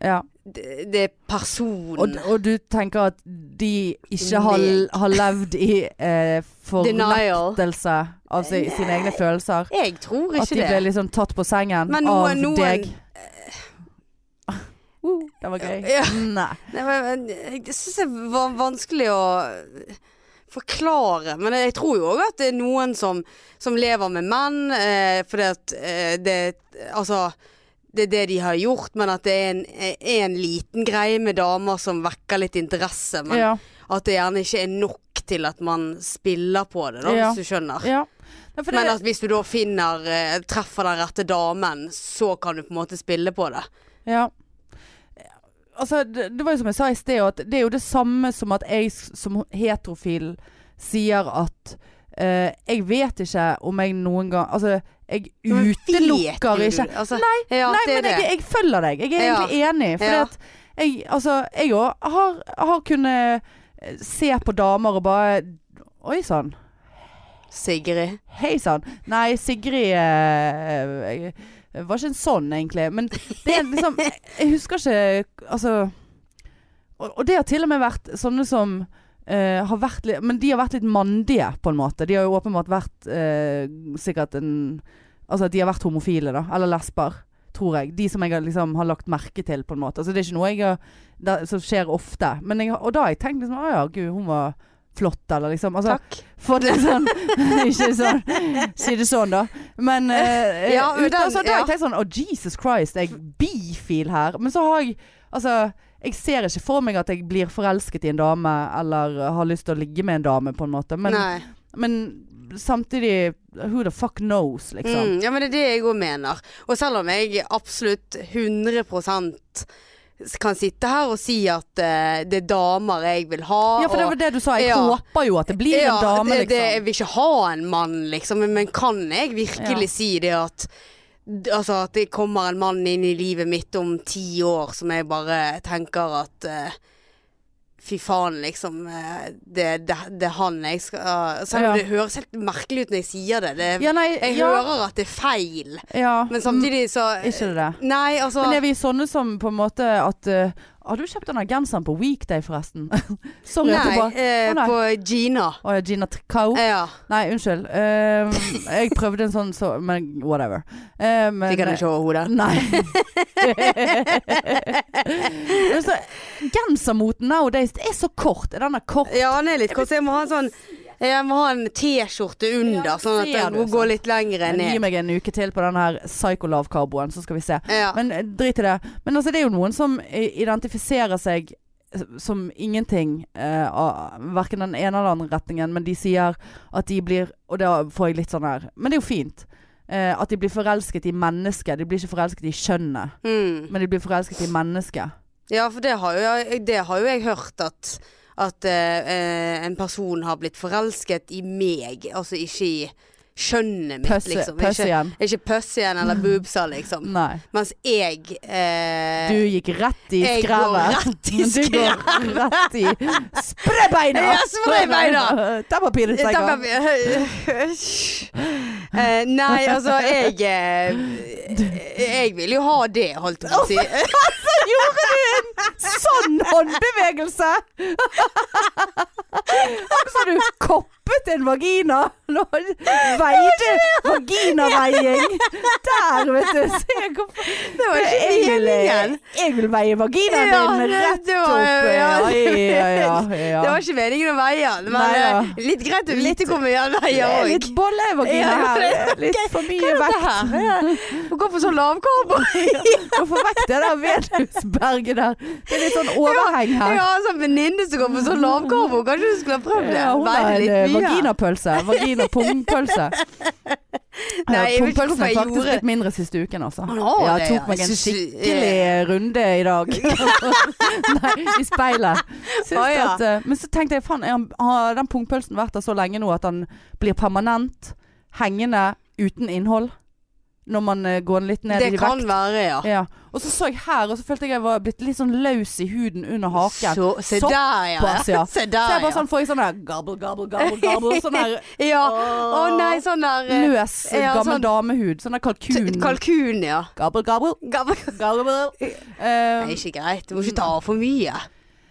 Speaker 1: Ja.
Speaker 2: Det, det er
Speaker 1: Og,
Speaker 2: personen.
Speaker 1: og du tenker at de ikke har,
Speaker 2: Meg.
Speaker 1: har levd i eh,
Speaker 2: Denial. Eh,
Speaker 1: forlettelse av si, sine egne følelser?
Speaker 2: Jeg tror
Speaker 1: At
Speaker 2: ikke
Speaker 1: de
Speaker 2: det.
Speaker 1: ble liksom tatt på sengen
Speaker 2: Men noen-
Speaker 1: av
Speaker 2: noen- Eh.
Speaker 1: deg? Uh, det var gøy.
Speaker 2: Ja.
Speaker 1: Nei.
Speaker 2: Nei, men, men, jeg syns det var vanskelig å forklare. Men jeg tror jo òg at det er noen som, som lever med menn, eh, fordi at eh, det Altså. Det er det de har gjort, men at det er en, er en liten greie med damer som vekker litt interesse. Men
Speaker 1: Ja.
Speaker 2: at det gjerne ikke er nok til at man spiller på det, da,
Speaker 1: Ja.
Speaker 2: hvis du skjønner.
Speaker 1: ja. Nei, for det-
Speaker 2: Men at hvis du da finner eh, treffer den rette damen, så kan du på en måte spille på det.
Speaker 1: Ja. Altså, det, det var jo som jeg sa i sted, at det er jo det samme som at jeg s- som heterofil sier at eh, Jeg vet ikke om jeg noen gang Altså, jeg
Speaker 2: Men vet
Speaker 1: utelukker
Speaker 2: du-
Speaker 1: ikke
Speaker 2: Altså, nei, ja,
Speaker 1: Nei,
Speaker 2: det er
Speaker 1: men jeg,
Speaker 2: det.
Speaker 1: jeg følger deg. Jeg er
Speaker 2: Ja.
Speaker 1: egentlig enig. For
Speaker 2: Ja.
Speaker 1: at jeg altså, jeg òg har, har kunnet eh, se på damer og bare Oi sånn." sann.
Speaker 2: Sigrid.
Speaker 1: Hei sann. Nei, Sigrid eh, eh, var ikke en sånn, egentlig. Men det er liksom Jeg jeg husker ikke Altså Og, og det har til og med vært sånne som eh, har vært litt, men de har vært litt mandige, på en måte. De har jo åpenbart vært eh, sikkert en Altså at de har vært homofile, da. Eller lesber. Tror jeg. De som jeg har liksom har lagt merke til, på en måte. Altså det er ikke noe jeg har, da, som skjer ofte. Men jeg, har- og da har jeg tenkt liksom Å ja, gud, hun var flott, eller liksom. Altså,
Speaker 2: Takk.
Speaker 1: for det sånn Ikke sånn Si det sånn da Men eh,
Speaker 2: Ja, men
Speaker 1: ut-
Speaker 2: den-
Speaker 1: altså, da har
Speaker 2: ja.
Speaker 1: jeg tenkt sånn Å Jesus Christ Jeg er bifil her Men så har jeg Altså Jeg ser ikke for meg at jeg blir forelsket i en dame Eller har lyst til å ligge med en dame på en måte Men,
Speaker 2: Nei.
Speaker 1: men samtidig Who the fuck knows liksom
Speaker 2: Mm, ja, men det er det jeg òg mener. Og selv om jeg absolutt 100 kan sitte her og si at eh, det er damer jeg vil ha.
Speaker 1: Ja, for det
Speaker 2: og-
Speaker 1: var det du sa Jeg
Speaker 2: Ja.
Speaker 1: håper jo at det blir
Speaker 2: ja,
Speaker 1: en dame
Speaker 2: det-
Speaker 1: liksom
Speaker 2: det, jeg vil ikke ha en mann, liksom. Men- Men kan jeg virkelig
Speaker 1: Ja.
Speaker 2: si det at d- Altså at det kommer en mann inn i livet mitt om ti år som jeg bare tenker at eh, Fy faen, liksom. eh, Det, det, det er han jeg skal uh, Selv om
Speaker 1: Ja.
Speaker 2: det høres helt merkelig ut når jeg sier det. det
Speaker 1: Ja, nei
Speaker 2: jeg
Speaker 1: ja,
Speaker 2: hører at det er feil,
Speaker 1: ja,
Speaker 2: men samtidig så
Speaker 1: mm, Ikke det det
Speaker 2: Nei, altså
Speaker 1: Men er vi sånne som på en måte at eh, Har du kjøpt denne genseren på weekday forresten? Sorry at
Speaker 2: Nei,
Speaker 1: jeg bare
Speaker 2: eh,
Speaker 1: Å, nei. Oh.
Speaker 2: på Gina.
Speaker 1: Å ja, Gina Tricao.
Speaker 2: Ja.
Speaker 1: Nei, unnskyld. Ehm, jeg prøvde en sånn, så, men whatever. Uh, men,
Speaker 2: Fikk han ikke over hodet?
Speaker 1: Nei. Men så, gensermoten nowadays det er så kort. Er denne kort?
Speaker 2: Ja, han er litt kort. så Jeg må ha en sånn Jeg må ha en T-skjorte under,
Speaker 1: Ja,
Speaker 2: sånn at
Speaker 1: ser
Speaker 2: den
Speaker 1: du,
Speaker 2: går
Speaker 1: sant.
Speaker 2: litt lengre
Speaker 1: Gi
Speaker 2: ned.
Speaker 1: meg en uke til på den her psycho-lav-karboen, så skal vi se.
Speaker 2: Ja.
Speaker 1: Men eh, drit i det. Men altså, det er jo noen som eh, identifiserer seg eh, som ingenting, eh, av verken den ene eller den andre retningen, men de sier at de blir Og da får jeg litt sånn her Men det er jo fint. eh, at de blir forelsket i mennesket. De blir ikke forelsket i kjønnet,
Speaker 2: Mm.
Speaker 1: men de blir forelsket i mennesket.
Speaker 2: ja, for det har jo, jeg- det har jo jeg hørt at at eh, eh, en person har blitt forelsket i meg, altså ikke i skjønnet mitt,
Speaker 1: Pøsse,
Speaker 2: liksom.
Speaker 1: pøsse
Speaker 2: Ikke,
Speaker 1: igjen.
Speaker 2: ikke pøss igjen eller boobsa, liksom.
Speaker 1: Nei.
Speaker 2: Mens jeg eh,
Speaker 1: Du gikk rett i
Speaker 2: jeg går
Speaker 1: skrevet.
Speaker 2: rett i
Speaker 1: Du går rett i Spre beina!
Speaker 2: Ja, spre beina!
Speaker 1: Ta papiret,
Speaker 2: Da
Speaker 1: tenker
Speaker 2: ble vi- Eh, nei, altså, jeg eh, Jeg vil jo ha det, holdt jeg på å si.
Speaker 1: Sånn håndbevegelse! Akkurat som du koppet en vagina. Nå veide vaginaveiing. Der, vet du. Se hvor
Speaker 2: Det var ikke
Speaker 1: jeg vil,
Speaker 2: meningen.
Speaker 1: jeg vil veie vaginaen
Speaker 2: Ja,
Speaker 1: din
Speaker 2: det-
Speaker 1: rett
Speaker 2: det var-
Speaker 1: opp. Ja,
Speaker 2: ja,
Speaker 1: ja, ja, ja.
Speaker 2: Det var ikke meningen å veie den, men
Speaker 1: Nei, ja.
Speaker 2: eh, litt greit å vite hvor mye den veier
Speaker 1: Det er
Speaker 2: òg.
Speaker 1: litt bolle i vagina
Speaker 2: Ja,
Speaker 1: her. Litt for mye vekt.
Speaker 2: Hvorfor så sånn lavkarbo?
Speaker 1: Hvorfor vekk det der Venusberget der? Det er litt sånn overheng her.
Speaker 2: Jeg har en sånn venninne som går på sånn lavkarbo. Kanskje du skulle ha prøvd det?
Speaker 1: Ja, hun
Speaker 2: Veide
Speaker 1: har en eh,
Speaker 2: litt mye.
Speaker 1: vaginapølse. Vaginapungpølse.
Speaker 2: Nei, jeg vet ikke
Speaker 1: Pungpølsen
Speaker 2: hvorfor
Speaker 1: er
Speaker 2: jeg
Speaker 1: faktisk
Speaker 2: gjorde
Speaker 1: blitt mindre siste uken, altså.
Speaker 2: Han
Speaker 1: ja,
Speaker 2: har det, altså
Speaker 1: tok
Speaker 2: ja.
Speaker 1: meg
Speaker 2: Jeg
Speaker 1: en
Speaker 2: synes- eh,
Speaker 1: skikkelig runde i dag. Nei, i speilet. Syns
Speaker 2: Å, ja.
Speaker 1: at, eh, men så tenkte jeg, faen, er han- har den pungpølsen vært der så lenge nå at han blir permanent hengende uten innhold? Når man eh, går litt ned i
Speaker 2: Det
Speaker 1: vekt.
Speaker 2: kan være, ja.
Speaker 1: Ja. Og så så jeg her, og så følte jeg jeg var blitt litt sånn løs i huden under haken.
Speaker 2: Så, se der,
Speaker 1: Såpass, ja.
Speaker 2: ja. Se
Speaker 1: Så
Speaker 2: der,
Speaker 1: jeg bare
Speaker 2: Ah, ja.
Speaker 1: sånn får jeg sånn der gabble, gabble, gabble, gabble. Sånn der
Speaker 2: Ja. Å nei, sånn der eh,
Speaker 1: løs,
Speaker 2: ja,
Speaker 1: gammel
Speaker 2: sånn-
Speaker 1: damehud. Sånn der kalkun.
Speaker 2: Kalkun, ja.
Speaker 1: Gabble, gabble,
Speaker 2: Gammel
Speaker 1: gabble.
Speaker 2: Det er
Speaker 1: Eh,
Speaker 2: ikke greit. Du må ikke ta av for mye.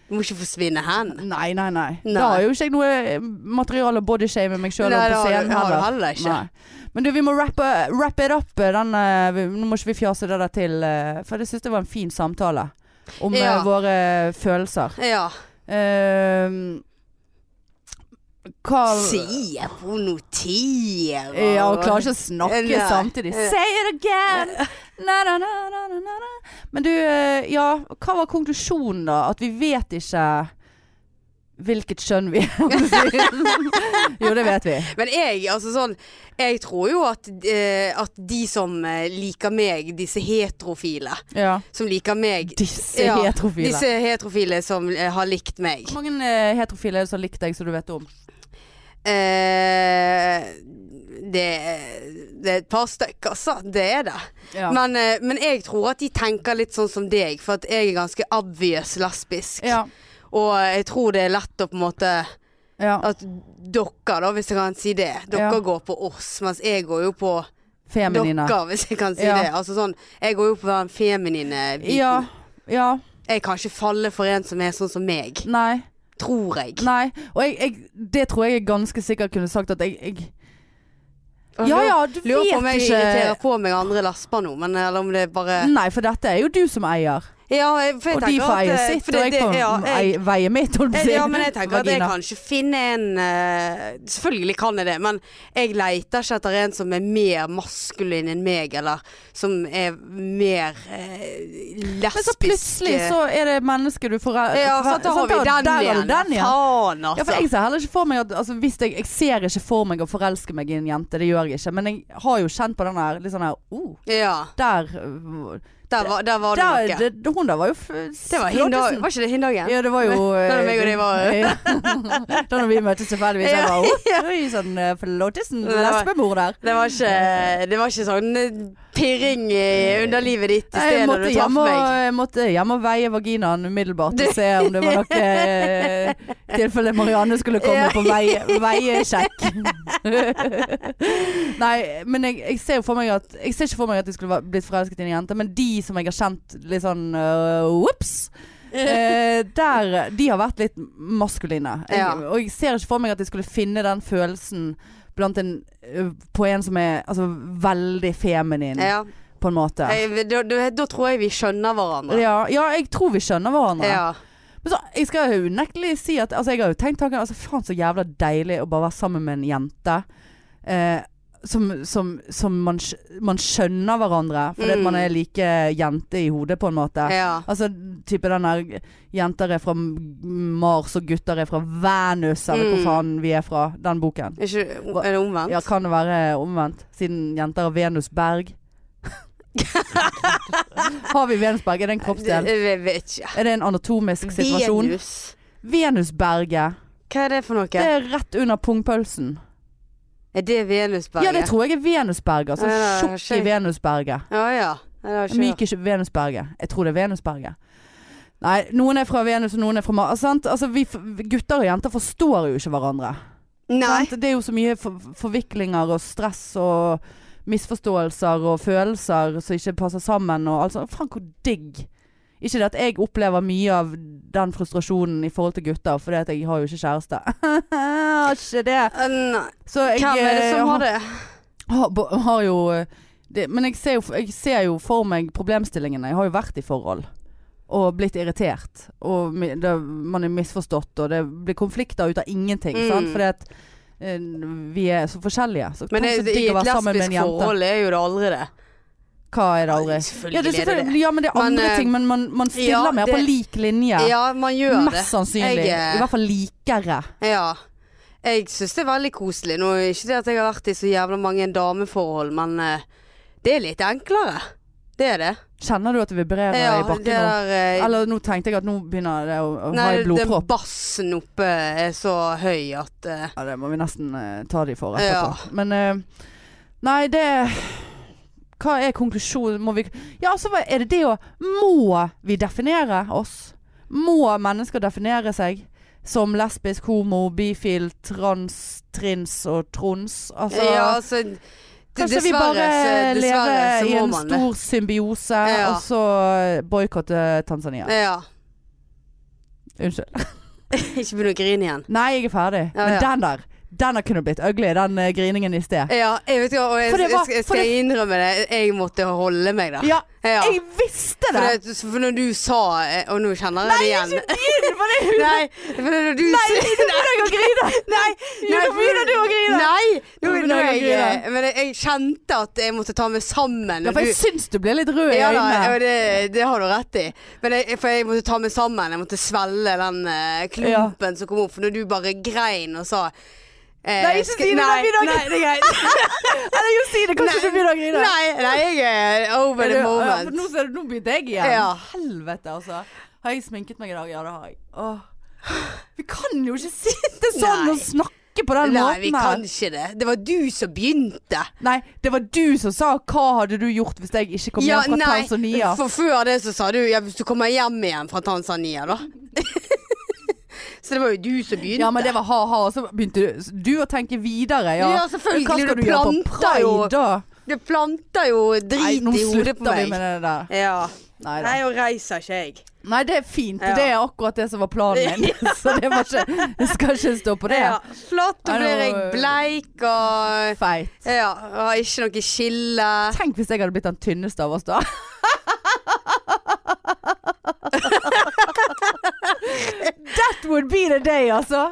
Speaker 2: Du må ikke forsvinne hen.
Speaker 1: nei, nei, nei.
Speaker 2: Nei.
Speaker 1: Da har jo ikke jeg noe eh, materiale å bodyshame meg sjøl
Speaker 2: Nei, det
Speaker 1: på
Speaker 2: har du-
Speaker 1: scenen
Speaker 2: har du
Speaker 1: heller.
Speaker 2: heller ikke.
Speaker 1: Nei. Men du, vi må rappe, wrap it up. eh, Den, eh, vi, nå må ikke vi fjase det der til, eh, for jeg syns det var en fin samtale om eh,
Speaker 2: Ja.
Speaker 1: våre følelser.
Speaker 2: Ja.
Speaker 1: Ehm, hva
Speaker 2: Se på noterer.
Speaker 1: Ja, hun klarer ikke å snakke
Speaker 2: Nei.
Speaker 1: samtidig.
Speaker 2: Eh.
Speaker 1: Say it again! Na, na, na, na, na, na, na. Men du, eh, ja. Hva var konklusjonen, da? At vi vet ikke hvilket kjønn vi er. jo, det vet vi.
Speaker 2: Men jeg, altså sånn Jeg tror jo at, eh, at de som eh, liker meg, disse heterofile
Speaker 1: Ja.
Speaker 2: Som liker meg
Speaker 1: Disse
Speaker 2: Ja,
Speaker 1: heterofile.
Speaker 2: Disse heterofile som eh, har likt meg.
Speaker 1: Hvor mange eh, heterofile er det som har likt deg, som du vet om?
Speaker 2: Eh, det, det er et par stykker, altså. Det er det.
Speaker 1: Ja.
Speaker 2: Men, eh, men jeg tror at de tenker litt sånn som deg, for at jeg er ganske obvious lesbisk.
Speaker 1: ja.
Speaker 2: Og jeg tror det er lett å på en måte
Speaker 1: ja.
Speaker 2: At dere, da, hvis jeg kan si det. Dere
Speaker 1: Ja.
Speaker 2: går på oss, mens jeg går jo på
Speaker 1: Feminine.
Speaker 2: dere, hvis jeg kan si
Speaker 1: Ja.
Speaker 2: det. Altså sånn, jeg går jo på den feminine biten.
Speaker 1: Ja. Ja.
Speaker 2: Jeg kan ikke falle for en som er sånn som meg.
Speaker 1: Nei.
Speaker 2: Tror jeg.
Speaker 1: Nei. Og jeg, jeg, det tror jeg jeg ganske sikkert kunne sagt at jeg, jeg Ja ja, du eh,
Speaker 2: Lurer på om
Speaker 1: vet
Speaker 2: jeg
Speaker 1: ikke.
Speaker 2: irriterer på meg andre lesber nå, men eller om det er bare
Speaker 1: Nei, for dette er jo du som eier.
Speaker 2: Ja, jeg- for jeg
Speaker 1: Og de
Speaker 2: tenker
Speaker 1: får
Speaker 2: at,
Speaker 1: eie
Speaker 2: eh,
Speaker 1: sitt,
Speaker 2: for det-
Speaker 1: og jeg
Speaker 2: det-
Speaker 1: får
Speaker 2: ja, jeg- Eh,
Speaker 1: ei- veie mitt, holdt på å si.
Speaker 2: Ja, men jeg tenker at jeg
Speaker 1: Vagina.
Speaker 2: kan ikke finne en eh, Selvfølgelig kan jeg det, men jeg leter ikke etter en som er mer maskulin enn meg, eller som er mer eh, lesbisk.
Speaker 1: Men så plutselig så er det mennesket du får
Speaker 2: Ja, så da har vi den
Speaker 1: der har
Speaker 2: igjen.
Speaker 1: du den igjen.
Speaker 2: Faen, altså.
Speaker 1: Ja, for jeg ser heller ikke for meg at altså, hvis jeg, jeg ser ikke for meg å forelske meg i en jente, det gjør jeg ikke. Men jeg har jo kjent på den der litt sånn her oh,
Speaker 2: Ja,
Speaker 1: der, øh,
Speaker 2: der var, der var det
Speaker 1: der
Speaker 2: noe.
Speaker 1: det, Hun der var jo f
Speaker 2: Det var, hin dag, var ikke det hin dagen?
Speaker 1: Ja, det var jo
Speaker 2: Da var
Speaker 1: øh,
Speaker 2: meg og de var-
Speaker 1: ja. Da når vi møttes tilfeldigvis, jeg
Speaker 2: Ja,
Speaker 1: bare oh, oi sann, øh, flottisen,
Speaker 2: det var-
Speaker 1: lesbemor der.
Speaker 2: Det var ikke, det var ikke sånn eh, pirring i underlivet ditt i
Speaker 1: Nei, Jeg
Speaker 2: stedet når
Speaker 1: måtte
Speaker 2: du traff
Speaker 1: hjem, og,
Speaker 2: meg.
Speaker 1: jeg måtte hjem og veie vaginaen umiddelbart og se om det var noe eh, tilfelle Marianne skulle komme
Speaker 2: Ja.
Speaker 1: på veie- veiesjekk. Nei, men jeg, jeg ser jo for meg at Jeg ser ikke for meg at jeg skulle vært- blitt forelsket i en jente, men de som jeg har kjent litt sånn ops der De har vært litt maskuline. Jeg,
Speaker 2: Ja.
Speaker 1: Og jeg ser ikke for meg at jeg skulle finne den følelsen blant en, øh, på en som er altså, veldig feminin,
Speaker 2: Ja,
Speaker 1: på en måte.
Speaker 2: jeg, da, da- da tror jeg vi skjønner hverandre.
Speaker 1: Ja, ja, jeg tror vi skjønner hverandre.
Speaker 2: Ja.
Speaker 1: Men så, jeg skal jo unektelig si at altså, jeg har jo tenkt tanken altså, Faen, så jævla deilig å bare være sammen med en jente. Eh, som som, som man, skj- man skjønner hverandre, fordi at
Speaker 2: Mm.
Speaker 1: man er like jente i hodet, på en måte.
Speaker 2: Ja.
Speaker 1: Altså type den der Jenter er fra Mars, og gutter er fra Venus, eller hvor
Speaker 2: Mm.
Speaker 1: faen vi er fra. Den boken.
Speaker 2: Er, ikke, er det omvendt?
Speaker 1: Ja, kan det være omvendt, siden jenter er Venusberg? har vi Venusberg? Er det en kroppsdel?
Speaker 2: Det- Jeg vet ikke.
Speaker 1: Er det en anatomisk situasjon?
Speaker 2: Venus.
Speaker 1: Venusberget.
Speaker 2: Hva er det for noe?
Speaker 1: Det er rett under pungpølsen.
Speaker 2: er det Venusberget?
Speaker 1: Ja, det tror jeg er Venusberget. Altså
Speaker 2: Ja, ja, ja,
Speaker 1: tjukk i
Speaker 2: skjønt.
Speaker 1: Venusberget.
Speaker 2: Ja, ja. Nei, det har jeg ikke hørt.
Speaker 1: Myk i Venusberget. Jeg tror det er Venusberget. Nei, noen er fra Venus og noen er fra Mars. Sant? Altså, vi, f- gutter og jenter forstår jo ikke hverandre.
Speaker 2: Nei.
Speaker 1: Sant? Det er jo så mye for, forviklinger og stress og misforståelser og følelser som ikke passer sammen og alt sånt. Faen, hvor digg. Ikke det at jeg opplever mye av den frustrasjonen i forhold til gutter, fordi at jeg har jo ikke kjæreste. Har ikke det.
Speaker 2: Eh, Nei.
Speaker 1: Så jeg
Speaker 2: Hvem er det
Speaker 1: eh,
Speaker 2: som har det?
Speaker 1: har, bo- har jo eh, det, Men jeg ser jo, f- jeg ser jo for meg problemstillingene. Jeg har jo vært i forhold. Og blitt irritert. Og mi- det, man er misforstått, og det blir konflikter ut av ingenting.
Speaker 2: Mm.
Speaker 1: Sant? Fordi at eh, vi er så forskjellige. Så
Speaker 2: Men det,
Speaker 1: tenk så
Speaker 2: i
Speaker 1: digg å
Speaker 2: et
Speaker 1: være sammen med en
Speaker 2: lesbisk
Speaker 1: jente.
Speaker 2: forhold er jo det aldri det.
Speaker 1: Hva er det aldri? Ja, det er
Speaker 2: Selvfølgelig er det det.
Speaker 1: selvfølgelig, ja, men det er
Speaker 2: Men,
Speaker 1: andre
Speaker 2: eh,
Speaker 1: ting. Men man, man stiller
Speaker 2: ja,
Speaker 1: mer på
Speaker 2: det-
Speaker 1: lik linje.
Speaker 2: Ja, man gjør det.
Speaker 1: Mest sannsynlig.
Speaker 2: Jeg, eh,
Speaker 1: I hvert fall likere.
Speaker 2: Ja. Jeg syns det er veldig koselig. Nå er ikke det at jeg har vært i så jævla mange dameforhold, men eh, det er litt enklere. Det er det.
Speaker 1: Kjenner du at det vibrerer i
Speaker 2: Ja, det
Speaker 1: bakken nå?
Speaker 2: der eh,
Speaker 1: Eller nå tenkte jeg at nå begynner det å, å ha
Speaker 2: Nei,
Speaker 1: i
Speaker 2: den
Speaker 1: blodpropp.
Speaker 2: bassen oppe er så høy at eh,
Speaker 1: Ja, det må vi nesten eh, ta de for
Speaker 2: Ja.
Speaker 1: etterpå. Men eh, Nei, det Hva er konklusjonen? Må vi Ja, altså hva- er det det å Må vi definere oss? Må mennesker definere seg som lesbisk, homo, bifil, trans, trins og trons? Altså
Speaker 2: Ja, altså d-
Speaker 1: Kanskje vi
Speaker 2: dessverre,
Speaker 1: bare
Speaker 2: så- dessverre
Speaker 1: lever
Speaker 2: så
Speaker 1: i
Speaker 2: må
Speaker 1: en
Speaker 2: man det.
Speaker 1: stor symbiose,
Speaker 2: Ja.
Speaker 1: og så boikotte Tanzania.
Speaker 2: Ja.
Speaker 1: Unnskyld.
Speaker 2: Ikke begynn å grine igjen.
Speaker 1: Nei, jeg er ferdig.
Speaker 2: Ja,
Speaker 1: Men
Speaker 2: ja.
Speaker 1: den der, den der kunne blitt ugly, den eh, griningen i sted.
Speaker 2: Ja, jeg vet ikke, og jeg,
Speaker 1: For det
Speaker 2: jeg,
Speaker 1: var-
Speaker 2: skal- jeg
Speaker 1: for
Speaker 2: skal innrømme det, jeg måtte holde meg der.
Speaker 1: Ja,
Speaker 2: Ja.
Speaker 1: jeg visste
Speaker 2: For,
Speaker 1: det!
Speaker 2: det, for når du sa eh, Og nå kjenner jeg det igjen.
Speaker 1: Inn, for det er jo-
Speaker 2: Nei, for når du
Speaker 1: Nei, nå begynner jeg å grine!
Speaker 2: Nei,
Speaker 1: Jo, nå begynner du å grine.
Speaker 2: Nei, nå
Speaker 1: Nå
Speaker 2: begynner jeg å
Speaker 1: grine.
Speaker 2: grine. Men jeg, jeg kjente at jeg måtte ta meg sammen.
Speaker 1: Ja,
Speaker 2: og
Speaker 1: for jeg
Speaker 2: du-
Speaker 1: syns du blir litt rød i
Speaker 2: ja, da,
Speaker 1: øynene.
Speaker 2: og det, det har du rett i. Men jeg, for jeg måtte ta meg sammen. Jeg måtte svelge den eh, klumpen som kom opp. For når du bare grein og sa eh,
Speaker 1: Nei, ikke si
Speaker 2: skal-
Speaker 1: det, da
Speaker 2: nei,
Speaker 1: begynner jeg å
Speaker 2: nei, det er greit.
Speaker 1: Eller jo, si det! Kanskje du begynner å grine.
Speaker 2: Nei, nei, jeg er over
Speaker 1: Er
Speaker 2: the
Speaker 1: du- ja, for
Speaker 2: moment.
Speaker 1: nå, ser du, nå begynte jeg igjen.
Speaker 2: Ja.
Speaker 1: Helvete, altså. Har jeg sminket meg i dag? Ja, det har jeg. Åh. Vi kan jo ikke sitte sånn
Speaker 2: Nei.
Speaker 1: og snakke på den
Speaker 2: Nei, vi
Speaker 1: måten her.
Speaker 2: kan ikke det. Det var du som begynte.
Speaker 1: Nei, det var du som sa 'hva hadde du gjort hvis jeg ikke kom hjem fra Tanzania'?
Speaker 2: For før det så sa du ja, hvis du kommer hjem igjen fra Tanzania, da. så det var jo du som begynte.
Speaker 1: Ja, men det var ha-ha, og så begynte du, du å tenke videre. Ja,
Speaker 2: Ja, selvfølgelig,
Speaker 1: Hva skal
Speaker 2: du
Speaker 1: du gjøre på
Speaker 2: planter
Speaker 1: pride,
Speaker 2: jo-
Speaker 1: da?
Speaker 2: Det planter jo drit
Speaker 1: nå
Speaker 2: i hodet på
Speaker 1: slutter vi
Speaker 2: meg.
Speaker 1: med det der.
Speaker 2: Ja.
Speaker 1: Nei, da.
Speaker 2: Nei, nå reiser ikke jeg.
Speaker 1: Nei, det er fint.
Speaker 2: Ja.
Speaker 1: Det er akkurat det som var planen min. Så det var ikke, jeg skal ikke stå på det.
Speaker 2: Ja, flott, da
Speaker 1: Nei, nå-
Speaker 2: blir jeg bleik og
Speaker 1: Feit.
Speaker 2: ja, og har ikke noe skille.
Speaker 1: Tenk hvis jeg hadde blitt den tynneste av oss da. That would be the day, altså.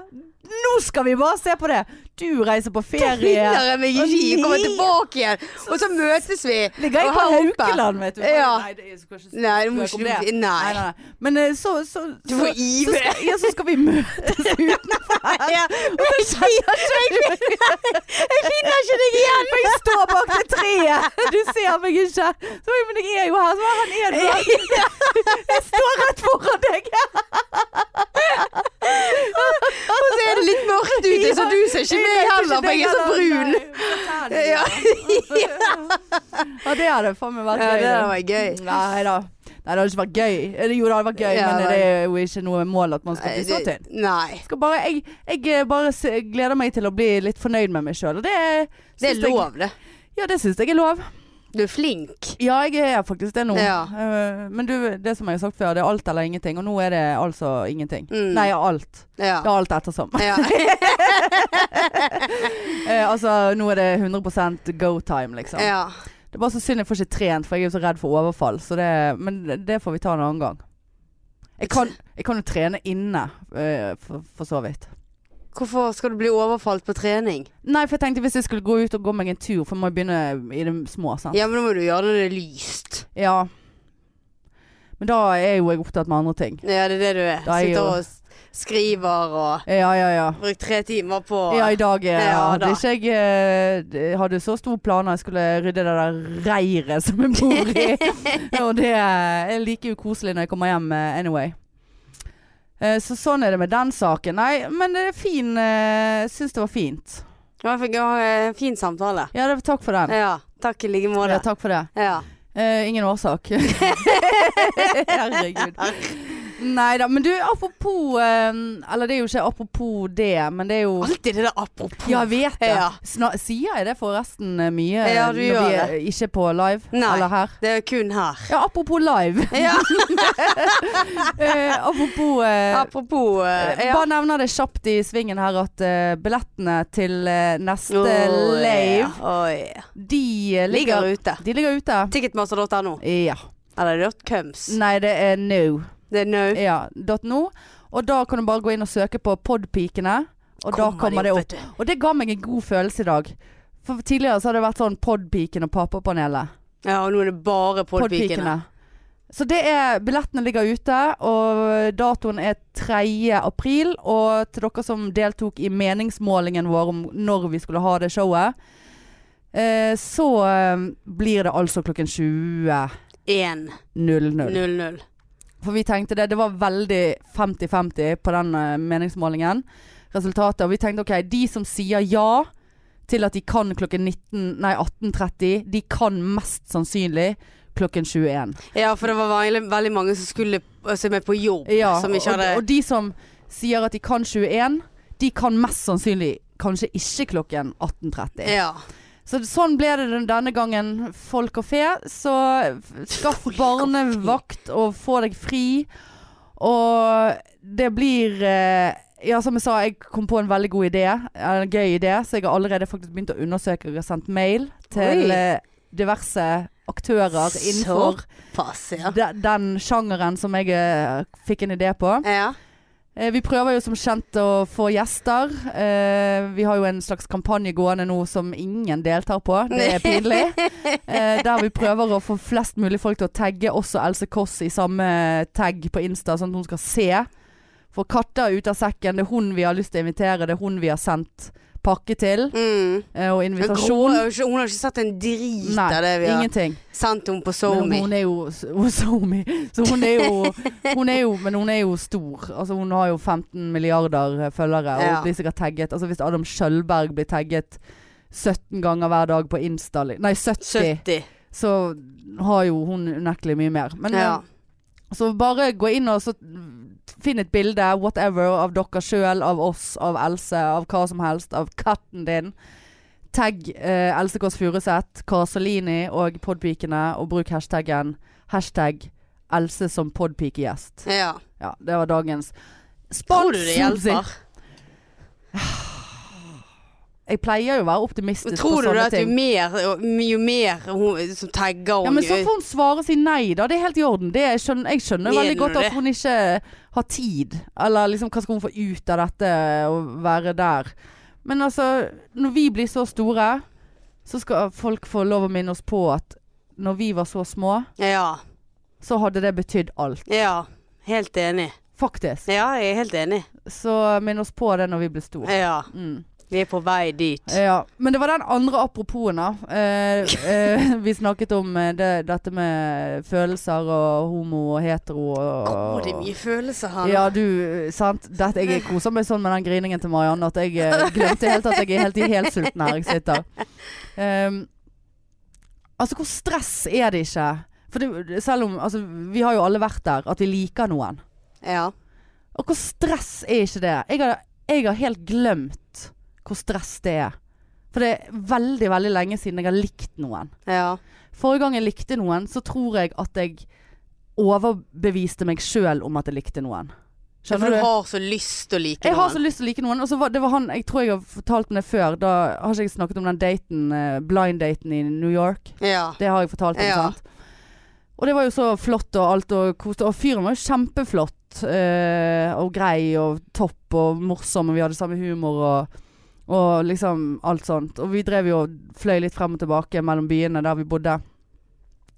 Speaker 1: Nå skal vi bare se på det. Du reiser på ferie.
Speaker 2: Finner jeg meg ikke i,
Speaker 1: Nei.
Speaker 2: kommer tilbake igjen, og så møtes vi.
Speaker 1: Ligger jeg
Speaker 2: og
Speaker 1: på
Speaker 2: her oppe.
Speaker 1: Haukeland, vet du.
Speaker 2: Ja.
Speaker 1: Nei, det er- jeg skal ikke
Speaker 2: Nei, du må
Speaker 1: spøke om
Speaker 2: ikke-
Speaker 1: det.
Speaker 2: nei.
Speaker 1: nei, nei. Men eh, så, så,
Speaker 2: Du
Speaker 1: så,
Speaker 2: får
Speaker 1: så,
Speaker 2: ive.
Speaker 1: skal- ja, så skal vi møtes utenfor her. Og så sier ikke du
Speaker 2: Jeg finner ikke deg igjen!
Speaker 1: For jeg står bak det treet. Du ser meg ikke. Så, jeg, men jeg er jo her. Så han er der. Jeg står rett foran deg.
Speaker 2: Og så er det litt mørkt ute, så du ser ikke meg heller, for jeg er så brun. Ja.
Speaker 1: Ja. ja, det hadde faen meg vært
Speaker 2: Ja,
Speaker 1: gøy.
Speaker 2: det
Speaker 1: da.
Speaker 2: hadde vært gøy.
Speaker 1: Mm, Nei da. Nei, det hadde ikke vært gøy. Eller Jo, det hadde vært gøy,
Speaker 2: Ja,
Speaker 1: men
Speaker 2: men-
Speaker 1: det er jo ikke noe mål at man skal bli så tynn.
Speaker 2: Nei.
Speaker 1: skal bare, jeg, jeg eh, bare se- gleder meg til å bli litt fornøyd med meg sjøl. Det, syns
Speaker 2: Det er lov, det.
Speaker 1: Jeg, ja, det syns jeg er lov.
Speaker 2: Du er flink.
Speaker 1: Ja, jeg er faktisk det nå.
Speaker 2: Ja.
Speaker 1: Eh, Men du, det som jeg har sagt før, det er alt eller ingenting. Og nå er det altså ingenting.
Speaker 2: Mm.
Speaker 1: Nei, alt.
Speaker 2: Ja.
Speaker 1: Det er alt ettersom.
Speaker 2: ja.
Speaker 1: Eh, altså, nå er det 100 go time, liksom.
Speaker 2: ja.
Speaker 1: Det er bare så synd jeg får ikke trent, for jeg er jo så redd for overfall. Så det, men det får vi ta en annen gang. Jeg kan, jeg kan jo trene inne, eh, for, for så vidt.
Speaker 2: Hvorfor skal du bli overfalt på trening?
Speaker 1: Nei, for jeg tenkte hvis jeg skulle gå ut og gå meg en tur, for jeg må jo begynne i det små, sant.
Speaker 2: Ja, men da må du gjøre det når det er lyst.
Speaker 1: Ja. Men da er jo jeg opptatt med andre ting.
Speaker 2: Ja, det er det du er.
Speaker 1: Da er jeg
Speaker 2: Sitter
Speaker 1: jo-
Speaker 2: og s- skriver og
Speaker 1: Ja, ja, ja.
Speaker 2: bruker tre timer på
Speaker 1: Ja, i dag eh,
Speaker 2: Ja,
Speaker 1: hadde
Speaker 2: da.
Speaker 1: ikke jeg eh, d- hadde så store planer. Jeg skulle rydde det der reiret som jeg bor i. og det eh, er like ukoselig når jeg kommer hjem eh, anyway. Eh, Så sånn er det med den saken. Nei, men det er fin. eh, Syns det var fint.
Speaker 2: Ja, jeg fikk jo en eh, fin samtale.
Speaker 1: Ja, det, takk for den.
Speaker 2: Ja. Takk i like
Speaker 1: Ja,
Speaker 2: måte.
Speaker 1: takk for det.
Speaker 2: Ja.
Speaker 1: Eh, ingen årsak. Herregud. Nei da, men du, apropos eh, Eller det er jo ikke apropos det, men det er jo
Speaker 2: Alltid det der apropos.
Speaker 1: Ja, jeg vet det.
Speaker 2: Ja.
Speaker 1: Sna sier jeg det forresten eh, mye
Speaker 2: Ja,
Speaker 1: eh,
Speaker 2: du
Speaker 1: når
Speaker 2: gjør
Speaker 1: vi er ikke på live?
Speaker 2: Nei.
Speaker 1: Eller her?
Speaker 2: Det er kun her.
Speaker 1: Ja, apropos live.
Speaker 2: Ja,
Speaker 1: Eh, apropos eh,
Speaker 2: apropos eh, ja.
Speaker 1: Bare nevner det kjapt i svingen her at eh, billettene til eh, neste
Speaker 2: Åh,
Speaker 1: lave,
Speaker 2: ja. Åh, ja.
Speaker 1: de eh, ligger,
Speaker 2: Ligger ute.
Speaker 1: De ligger ute.
Speaker 2: Ticketmaster.no.
Speaker 1: Ja.
Speaker 2: Eller dot comes.
Speaker 1: Nei, det er no.
Speaker 2: Det er no.
Speaker 1: Mm. Ja, dot .no. Og da kan du bare gå inn og søke på Podpikene, og da kommer det opp.
Speaker 2: vet du.
Speaker 1: Og det ga meg en god følelse i dag. For tidligere så har det vært sånn Podpiken og Pappapanelet.
Speaker 2: Ja, og nå er det bare podpikene.
Speaker 1: Podpikene. Så det er, billettene ligger ute, og datoen er 3. april. Og til dere som deltok i meningsmålingen vår om når vi skulle ha det showet, eh, så eh, blir det altså klokken 20.00.
Speaker 2: 1-0-0.
Speaker 1: For vi tenkte det, det var veldig 50-50 på den eh, meningsmålingen. Resultatet. Og vi tenkte ok, de som sier ja til at de kan klokken 19, nei 18.30, de kan mest sannsynlig klokken 21.
Speaker 2: Ja, for det var veldig, veldig mange som skulle som er på jobb,
Speaker 1: Ja,
Speaker 2: som ikke hadde
Speaker 1: og, og de som sier at de kan 21, de kan mest sannsynlig kanskje ikke klokken 18.30.
Speaker 2: ja.
Speaker 1: Så sånn ble det den- denne gangen, folk og fe. Så f- skaff
Speaker 2: Folk og fe.
Speaker 1: barnevakt og få deg fri. Og det blir eh, Ja, som jeg sa, jeg kom på en veldig god idé. eller En gøy idé, så jeg har allerede faktisk begynt å undersøke. Jeg har sendt mail til
Speaker 2: Oi.
Speaker 1: eh, diverse aktører innenfor
Speaker 2: Pass, ja.
Speaker 1: de, den sjangeren som jeg eh, fikk en idé på.
Speaker 2: Ja.
Speaker 1: Eh, Vi prøver jo som kjent å få gjester. Eh, vi har jo en slags kampanje gående nå som ingen deltar på. Det er pinlig. Eh, der vi prøver å få flest mulig folk til å tagge også Else Kåss i samme tagg på Insta, sånn at hun skal se. For katta er ute av sekken. Det er hun vi har lyst til å invitere. Det er hun vi har sendt pakke til.
Speaker 2: Mm.
Speaker 1: eh, og
Speaker 2: Men Gro
Speaker 1: invitasjon.
Speaker 2: har jo ikke- Hun har ikke sett en drit
Speaker 1: Nei,
Speaker 2: av det vi har
Speaker 1: Ingenting.
Speaker 2: sendt henne på
Speaker 1: Men
Speaker 2: SoMe.
Speaker 1: hun er jo Somi. Så hun er jo, hun er jo Men hun er jo stor. Altså hun har jo 15 milliarder eh, følgere og
Speaker 2: Ja.
Speaker 1: blir sikkert tagget. Altså hvis Adam Skjølberg blir tagget 17 ganger hver dag på Insta li- Nei, 70,
Speaker 2: 70.
Speaker 1: så har jo hun unektelig mye mer. Men
Speaker 2: Ja.
Speaker 1: eh, så bare gå inn og så finn et bilde, whatever, av dere sjøl, av oss, av Else, av hva som helst, av katten din. Tagg eh, Else Kåss Furuseth, Karsolini og Podpikene, og bruk hashtaggen hashtag Else som podpikegjest.
Speaker 2: ja.
Speaker 1: Ja, det var dagens.
Speaker 2: Tror du det
Speaker 1: Sponsen sin-
Speaker 2: hjelper?
Speaker 1: Jeg pleier jo å være optimistisk
Speaker 2: Tror du
Speaker 1: på
Speaker 2: det
Speaker 1: sånne
Speaker 2: at jo
Speaker 1: ting.
Speaker 2: mer, jo mer hun som tagger
Speaker 1: Ja,
Speaker 2: hun
Speaker 1: men så får hun svare og si nei, da. Det er helt i orden. Det er, jeg skjønner, jeg skjønner
Speaker 2: Mener
Speaker 1: veldig godt
Speaker 2: du
Speaker 1: at
Speaker 2: det?
Speaker 1: hun ikke har tid. Eller liksom, hva skal hun få ut av dette å være der? Men altså, når vi blir så store, så skal folk få lov å minne oss på at når vi var så små,
Speaker 2: Ja.
Speaker 1: så hadde det betydd alt.
Speaker 2: ja. Helt enig.
Speaker 1: Faktisk.
Speaker 2: Ja, jeg er helt enig.
Speaker 1: Så minn oss på det når vi blir store.
Speaker 2: Ja.
Speaker 1: Mm.
Speaker 2: Vi er på vei dit.
Speaker 1: Ja, men det var den andre apropoen da. Eh, eh, vi snakket om eh, det, dette med følelser og homo og hetero. Og,
Speaker 2: Å, det er mye følelser her. nå.
Speaker 1: Ja, du, eh, sant. Dette, jeg koser meg sånn med den griningen til Marianne at jeg eh, glemte helt at jeg er helt i helsulten her jeg sitter. Ehm, altså, hvor stress er det ikke? For det, selv om altså, Vi har jo alle vært der, at vi liker noen.
Speaker 2: Ja.
Speaker 1: Og hvor stress er ikke det? Jeg har, jeg har helt glemt hvor stress det er. For det er veldig, veldig lenge siden jeg har likt noen.
Speaker 2: ja.
Speaker 1: Forrige gang jeg likte noen, så tror jeg at jeg overbeviste meg sjøl om at jeg likte noen.
Speaker 2: Ja, for
Speaker 1: Skjønner du?
Speaker 2: du har så lyst til å like
Speaker 1: Jeg har så
Speaker 2: noen.
Speaker 1: lyst til å like noen. Og så var, det var han, jeg tror jeg har fortalt om det før. Da har ikke jeg snakket om den daten, eh, blind daten i New York.
Speaker 2: Ja.
Speaker 1: Det har jeg fortalt om,
Speaker 2: Ja.
Speaker 1: sant. Og det var jo så flott og alt og koste. Og fyren var jo kjempeflott eh, og grei og topp og morsom, og vi hadde samme humor og, og liksom alt sånt. Og vi drev jo og fløy litt frem og tilbake mellom byene der vi bodde.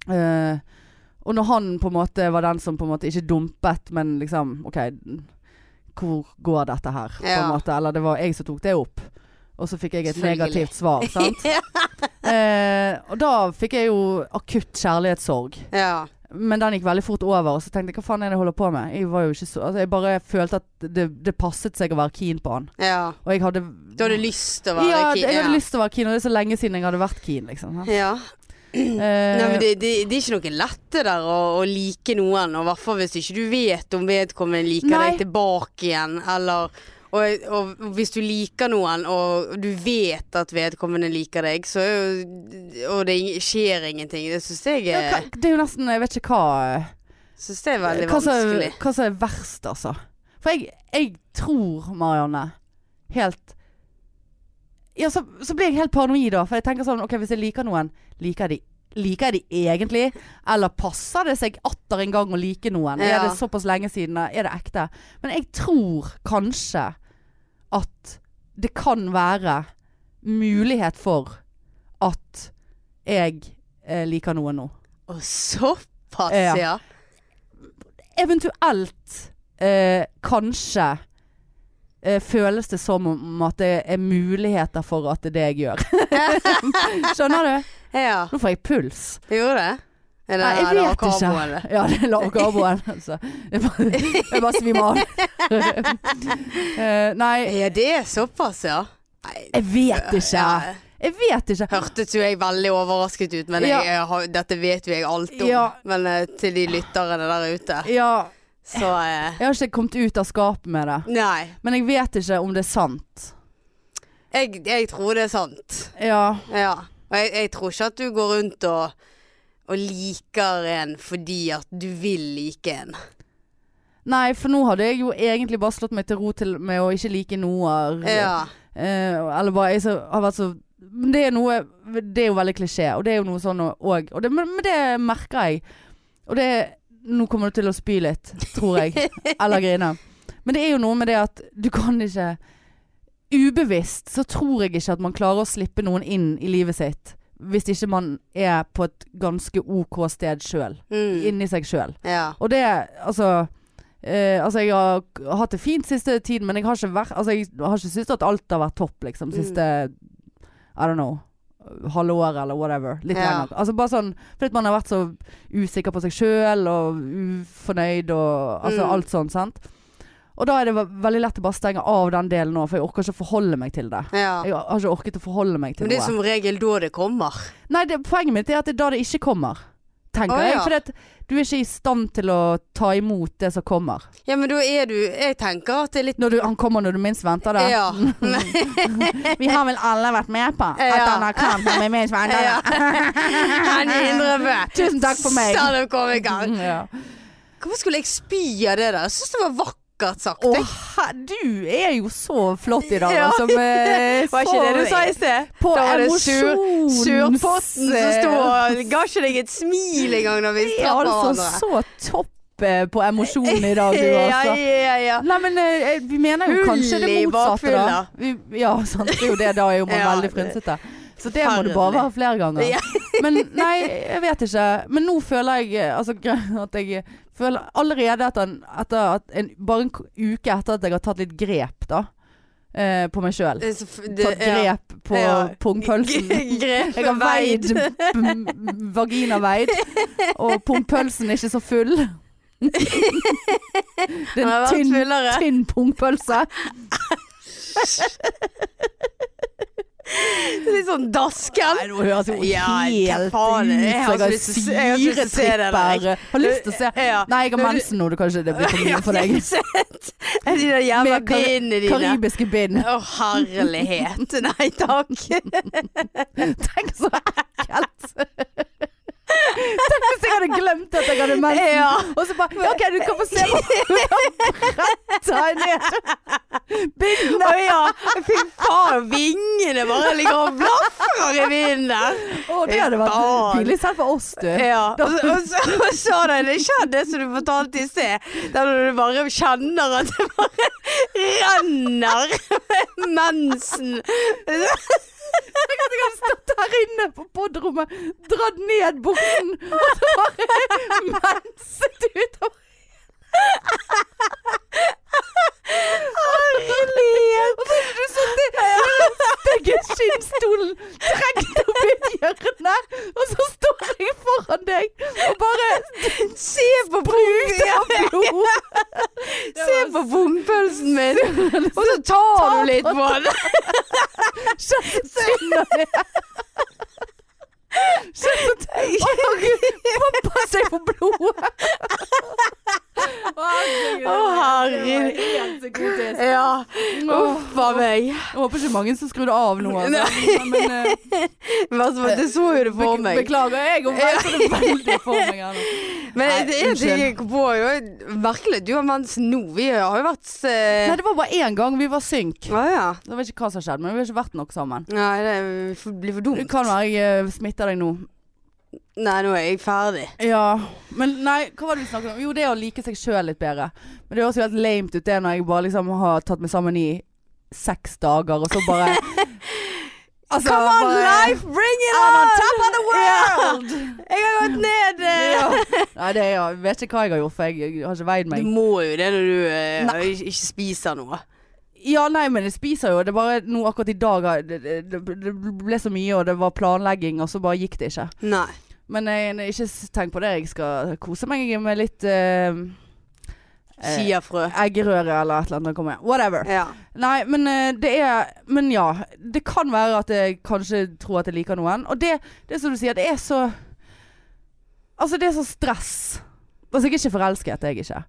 Speaker 1: Eh, og når han på en måte var den som på en måte ikke dumpet, men liksom OK, hvor går dette her? På en
Speaker 2: Ja.
Speaker 1: måte. Eller det var jeg som tok det opp. Og så fikk jeg et
Speaker 2: Selvfølgelig.
Speaker 1: negativt svar, sant.
Speaker 2: ja.
Speaker 1: Eh, og da fikk jeg jo akutt kjærlighetssorg.
Speaker 2: ja.
Speaker 1: Men den gikk veldig fort over, og så tenkte jeg hva faen er det jeg holder på med? Jeg var jo ikke så Altså jeg bare følte at det, det passet seg å være keen på han.
Speaker 2: ja.
Speaker 1: Og jeg hadde
Speaker 2: Du hadde lyst til å være
Speaker 1: Ja,
Speaker 2: ki-
Speaker 1: jeg hadde lyst til å være keen, og det er så lenge siden jeg hadde vært keen, liksom.
Speaker 2: Ja.
Speaker 1: Eh,
Speaker 2: Nei, men det, det, det er ikke noe lette der å, å like noen, og i hvert fall hvis ikke du vet om vedkommende liker
Speaker 1: Nei.
Speaker 2: deg tilbake igjen, eller og, og hvis du liker noen, og du vet at vedkommende liker deg, så er jo Og det ing- skjer ingenting. Det syns jeg,
Speaker 1: ja, hva,
Speaker 2: er-
Speaker 1: det er jo nesten Jeg vet ikke hva eh,
Speaker 2: synes jeg er veldig
Speaker 1: hva som,
Speaker 2: vanskelig.
Speaker 1: hva som er verst, altså. For jeg, jeg tror, Marianne, helt Ja, så, så blir jeg helt paranoid da. For jeg tenker sånn OK, hvis jeg liker noen, liker jeg de Liker jeg de egentlig? Eller passer det seg atter en gang å like noen? Er
Speaker 2: Ja.
Speaker 1: det såpass lenge siden? Er det ekte? Men jeg tror kanskje at det kan være mulighet for at jeg eh, liker noen nå.
Speaker 2: Og såpass,
Speaker 1: Ja.
Speaker 2: ja.
Speaker 1: eventuelt eh, kanskje eh, føles det som om at det er muligheter for at det er det jeg gjør. Skjønner du?
Speaker 2: Ja.
Speaker 1: Nå får jeg puls.
Speaker 2: Gjorde det? Eller,
Speaker 1: Nei, jeg
Speaker 2: eller
Speaker 1: vet
Speaker 2: akkurat
Speaker 1: ikke.
Speaker 2: på det.
Speaker 1: Ja, det er lav karboen. Altså. Jeg bare, jeg bare svimer av. Eh, nei,
Speaker 2: Ja, det er såpass, ja. Nei,
Speaker 1: jeg vet ikke.
Speaker 2: ja.
Speaker 1: Jeg vet ikke.
Speaker 2: Hørtes jo jeg veldig overrasket ut, men
Speaker 1: Ja.
Speaker 2: jeg, jeg, har- dette vet jo jeg alt om.
Speaker 1: Ja.
Speaker 2: Men eh, til de lytterne der ute,
Speaker 1: Ja,
Speaker 2: så eh,
Speaker 1: jeg har ikke kommet ut av skapet med det.
Speaker 2: Nei.
Speaker 1: Men jeg vet ikke om det er sant.
Speaker 2: Jeg, jeg tror det er sant.
Speaker 1: Ja.
Speaker 2: Ja. Og jeg, jeg tror ikke at du går rundt og, og liker en fordi at du vil like en.
Speaker 1: Nei, for nå hadde jeg jo egentlig bare slått meg til ro til med å ikke like noe.
Speaker 2: Ja.
Speaker 1: Eh, eller bare jeg så, har vært så Men det er noe Det er jo veldig klisjé, og det er jo noe sånn og, og og det, men, men det merker jeg. Og det Nå kommer du til å spy litt, tror jeg. eller grine. Men det er jo noe med det at du kan ikke Ubevisst så tror jeg ikke at man klarer å slippe noen inn i livet sitt hvis ikke man er på et ganske OK sted sjøl.
Speaker 2: Mm.
Speaker 1: Inni seg sjøl.
Speaker 2: ja.
Speaker 1: Og det, altså eh, altså jeg har k- hatt det fint siste tiden, men jeg har ikke vært Altså jeg har ikke syntes at alt har vært topp, liksom,
Speaker 2: Mm.
Speaker 1: siste I don't know. Halve året eller whatever. Litt
Speaker 2: Ja.
Speaker 1: lenger. Altså bare sånn fordi at man har vært så usikker på seg sjøl og ufornøyd og altså
Speaker 2: Mm.
Speaker 1: alt sånt, sant. Og da er det ve- veldig lett å bare stenge av den delen nå, for jeg orker ikke å forholde meg til det.
Speaker 2: ja.
Speaker 1: Jeg har ikke orket å forholde meg til
Speaker 2: Men det
Speaker 1: noe.
Speaker 2: er som regel da det kommer.
Speaker 1: Nei, det, poenget mitt er at det er da det ikke kommer. Tenker
Speaker 2: Å,
Speaker 1: jeg.
Speaker 2: ja.
Speaker 1: For at du er ikke i stand til å ta imot det som kommer.
Speaker 2: Ja, men da er du Jeg tenker at det er litt
Speaker 1: Når du, han kommer når du minst venter det.
Speaker 2: Ja.
Speaker 1: Vi har vel alle vært med på at
Speaker 2: Ja.
Speaker 1: han har kommet når vi minst venter det.
Speaker 2: Han innrømmer.
Speaker 1: Tusen takk for meg.
Speaker 2: Standup-komiker.
Speaker 1: Ja.
Speaker 2: Hvorfor skulle jeg spy av det der? Jeg syns det var vakkert sagt.
Speaker 1: Å,
Speaker 2: jeg.
Speaker 1: her- du er jo så flott i dag,
Speaker 2: Ja.
Speaker 1: altså. med-
Speaker 2: Var ikke
Speaker 1: så-
Speaker 2: det du sa i sted?
Speaker 1: På
Speaker 2: Da var det sur-
Speaker 1: emosjons-
Speaker 2: Surpotten som sto og ga ikke deg et smil engang når vi
Speaker 1: Det er
Speaker 2: traff
Speaker 1: altså
Speaker 2: hverandre.
Speaker 1: så topp eh, på emosjonen i dag, du,
Speaker 2: Ja,
Speaker 1: altså.
Speaker 2: ja, ja.
Speaker 1: Nei, men eh, vi mener jo
Speaker 2: Hull
Speaker 1: kanskje det
Speaker 2: i
Speaker 1: motsatte, da.
Speaker 2: bakfylla.
Speaker 1: Vi, ja, sant. Det er jo det. Da er jo man
Speaker 2: Ja,
Speaker 1: veldig
Speaker 2: det-
Speaker 1: frynsete. Så det må du bare
Speaker 2: Forferdelig.
Speaker 1: være flere ganger.
Speaker 2: Ja.
Speaker 1: Men nei, jeg vet ikke. Men nå føler jeg eh, altså, gre- at jeg føler allerede etter, en, etter at en, Bare en k- uke etter at jeg har tatt litt grep, da. Eh, på meg sjøl.
Speaker 2: Det er så- det-
Speaker 1: Tatt
Speaker 2: ja.
Speaker 1: grep på
Speaker 2: Ja.
Speaker 1: pungpølsen.
Speaker 2: Grep
Speaker 1: Jeg har veid
Speaker 2: veid.
Speaker 1: m- vagina veid, og pungpølsen er ikke så full. Det er
Speaker 2: Han har
Speaker 1: en
Speaker 2: vært
Speaker 1: tynn,
Speaker 2: fullere.
Speaker 1: tynn pungpølse.
Speaker 2: Litt sånn dasken.
Speaker 1: Nei, nå høres jo
Speaker 2: Ja, hva
Speaker 1: helt
Speaker 2: faen,
Speaker 1: ut
Speaker 2: jeg har
Speaker 1: som jeg
Speaker 2: så lyst til å se- altså jeg har så lyst til å se det der,
Speaker 1: syretripper. Har lyst til å se.
Speaker 2: Ja.
Speaker 1: Nei, jeg har
Speaker 2: Når du-
Speaker 1: mensen nå. Det kan ikke det blir for mye for deg.
Speaker 2: Er de der jævla
Speaker 1: Med kar-
Speaker 2: bindene dine?
Speaker 1: Karibiske bind.
Speaker 2: Å, herlighet. Nei takk.
Speaker 1: Tenk så ekkelt. Tenk hvis jeg hadde glemt at jeg hadde mensen.
Speaker 2: Ja.
Speaker 1: Og så bare ja, OK, du kan få se på Ta ned bindene.
Speaker 2: Å ja. Fy faen, vingene bare ligger og blafrer i vinden der.
Speaker 1: Å, det hadde vært
Speaker 2: Faen.
Speaker 1: pinlig selv for oss, du.
Speaker 2: Ja, og, så- og, så, og så har det skjedd det som du fortalte i sted. Der når du bare kjenner at det bare renner med mensen.
Speaker 1: Tenk at jeg hadde stått her inne på podrommet, dratt ned buksen, og så bare menset utover. Herlighet! Og så hadde du sittet i skinnstolen, trengt opp i et hjørne, og så står jeg foran deg og bare
Speaker 2: Se på pungen!
Speaker 1: tar blod.
Speaker 2: Se på pungpølsen min! Og så tar du litt på den.
Speaker 1: Kjente synd av det. Shit, Å, herregud! Pappa seg på blodet!
Speaker 2: Å, herregud.
Speaker 3: herregud.
Speaker 2: Ja,
Speaker 1: Åh,
Speaker 2: uff a meg.
Speaker 1: Jeg håper ikke mange som skrudde av nå. Altså. Men, eh,
Speaker 2: Men altså, det så jo det for
Speaker 1: bek-
Speaker 2: meg.
Speaker 1: Beklager, jeg og jeg så det veldig for meg her nå.
Speaker 2: Men det er en ting
Speaker 1: Nei,
Speaker 2: jeg kom på jo. Merkelig, du har mens nå. Vi har jo vært eh,
Speaker 1: Nei, det var bare én gang vi var synk.
Speaker 2: Å ja.
Speaker 1: Jeg vet ikke hva som skjedde, men vi har ikke vært nok sammen.
Speaker 2: Nei, det f- blir for
Speaker 1: Det
Speaker 2: dumt.
Speaker 1: kan være jeg eh, smitter deg nå.
Speaker 2: Nei, nå er jeg ferdig.
Speaker 1: Ja, men nei, hva var det vi snakket om? Jo, det å like seg sjøl litt bedre. Men det høres jo helt lame ut det når jeg bare liksom har tatt meg sammen i seks dager, og så bare Altså,
Speaker 2: Come on,
Speaker 1: bare-
Speaker 2: life! Bring it
Speaker 1: I'm
Speaker 2: on!
Speaker 1: on top of the world!
Speaker 2: Jeg har gått ned! eh.
Speaker 1: Ja. Nei, det er, jeg vet ikke hva jeg har gjort, for jeg, jeg har ikke veid
Speaker 2: Du
Speaker 1: meg.
Speaker 2: må jo det når du eh, ikke- ikke spiser noe.
Speaker 1: Ja, nei, men jeg spiser jo. Det er bare nå akkurat i dag har- det, det, det ble så mye, og det var planlegging, og så bare gikk det ikke.
Speaker 2: Nei.
Speaker 1: Men jeg, jeg- ikke s- tenk på det. Jeg skal kose meg med litt eh, eh,
Speaker 2: Chiafrø.
Speaker 1: eggerøre eller et eller annet. når jeg kommer hjem. Whatever.
Speaker 2: Ja.
Speaker 1: Nei, men eh, det er Men ja. Det kan være at jeg kanskje tror at jeg liker noen. Og det, det er som du sier, det er så Altså, det er så stress. Altså, jeg er ikke forelsket, jeg er ikke.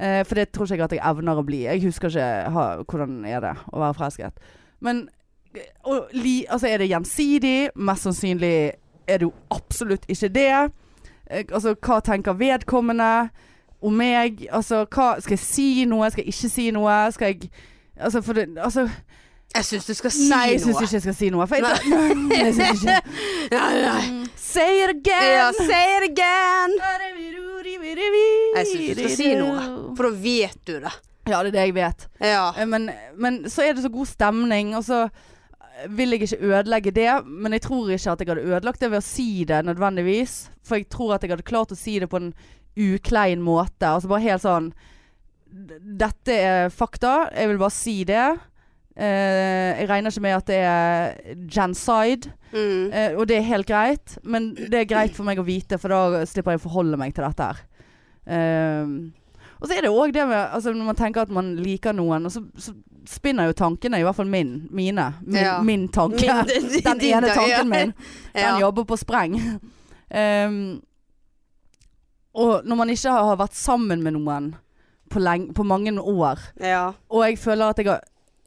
Speaker 1: Eh, for det tror ikke jeg at jeg evner å bli. Jeg husker ikke ha, hvordan er det å være forelsket. Men eh, og, li, altså, er det gjensidig? Mest sannsynlig er det jo absolutt ikke det. Eh, altså, hva tenker vedkommende om meg? Altså, hva, skal jeg si noe? Skal jeg ikke si noe? Skal jeg Altså, for det, altså
Speaker 2: Jeg syns du skal si
Speaker 1: Nei, jeg syns
Speaker 2: noe.
Speaker 1: ikke jeg skal si noe. For jeg, nei, jeg syns ikke
Speaker 2: Nei, nei.
Speaker 1: Say it again!
Speaker 2: Mm. Ja, say it again! Jeg
Speaker 1: Jeg
Speaker 2: syns du skal si noe, for da vet du det.
Speaker 1: Ja, det er det jeg vet.
Speaker 2: Ja.
Speaker 1: Eh, Men, men så er det så god stemning, og så eh, vil jeg ikke ødelegge det. Men jeg tror ikke at jeg hadde ødelagt det ved å si det nødvendigvis. For jeg tror at jeg hadde klart å si det på en uklein måte. Altså bare helt sånn "D- Dette er fakta, jeg vil bare si det. Eh, jeg regner ikke med at det er genside,
Speaker 2: Mm.
Speaker 1: eh, og det er helt greit. Men det er greit for meg å vite, for da slipper jeg å forholde meg til dette her. Ehm, og så er det òg det med altså, Når man tenker at man liker noen, og så, så spinner jo tankene, i hvert fall min, mine. Min,
Speaker 2: Ja.
Speaker 1: min tanke.
Speaker 2: Min-
Speaker 1: Den
Speaker 2: din
Speaker 1: ene
Speaker 2: dag, ja.
Speaker 1: tanken min. Den
Speaker 2: Ja.
Speaker 1: jobber på spreng. Ehm, og når man ikke har har vært sammen med noen på, leng på mange år,
Speaker 2: Ja.
Speaker 1: og jeg føler at jeg, har,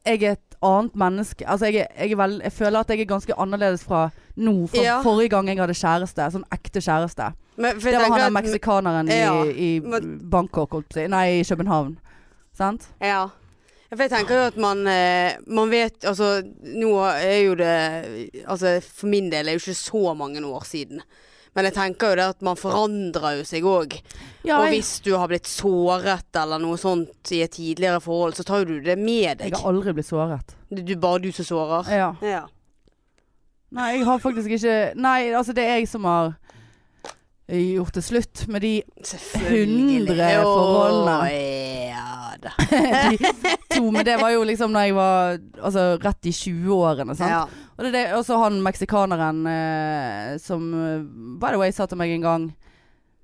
Speaker 1: jeg er et annet menneske Altså jeg, er- jeg, er vel, jeg føler at jeg er ganske annerledes fra nå, fra
Speaker 2: Ja.
Speaker 1: forrige gang jeg hadde kjæreste. Sånn ekte kjæreste.
Speaker 2: Men,
Speaker 1: Det
Speaker 2: for jeg
Speaker 1: var
Speaker 2: tenker
Speaker 1: han der
Speaker 2: at-
Speaker 1: meksikaneren i,
Speaker 2: Ja,
Speaker 1: i
Speaker 2: men-
Speaker 1: Bangkok, holdt på å si. Nei, i København. Sant?
Speaker 2: Ja. Ja, For jeg tenker jo at man, eh, man vet Altså, nå er jo det Altså, for min del er jo ikke så mange år siden. Men jeg tenker jo det at man forandrer jo seg òg.
Speaker 1: Ja,
Speaker 2: Og
Speaker 1: jeg,
Speaker 2: hvis du har blitt såret eller noe sånt i et tidligere forhold, så tar jo du det med
Speaker 1: jeg
Speaker 2: deg.
Speaker 1: har aldri blitt såret.
Speaker 2: Det er bare du som sårer.
Speaker 1: Ja.
Speaker 2: Ja.
Speaker 1: Nei, jeg har faktisk ikke Nei, altså det er jeg som har eh, gjort det slutt med de,
Speaker 2: Selvfølgelig.
Speaker 1: Hundre forholdene.
Speaker 2: Å, Ja da.
Speaker 1: de to. Men det var jo liksom da jeg var altså, rett i 20-årene. sant?
Speaker 2: Ja.
Speaker 1: Og det er det, også han meksikaneren eh, som eh, By the way sa til meg en gang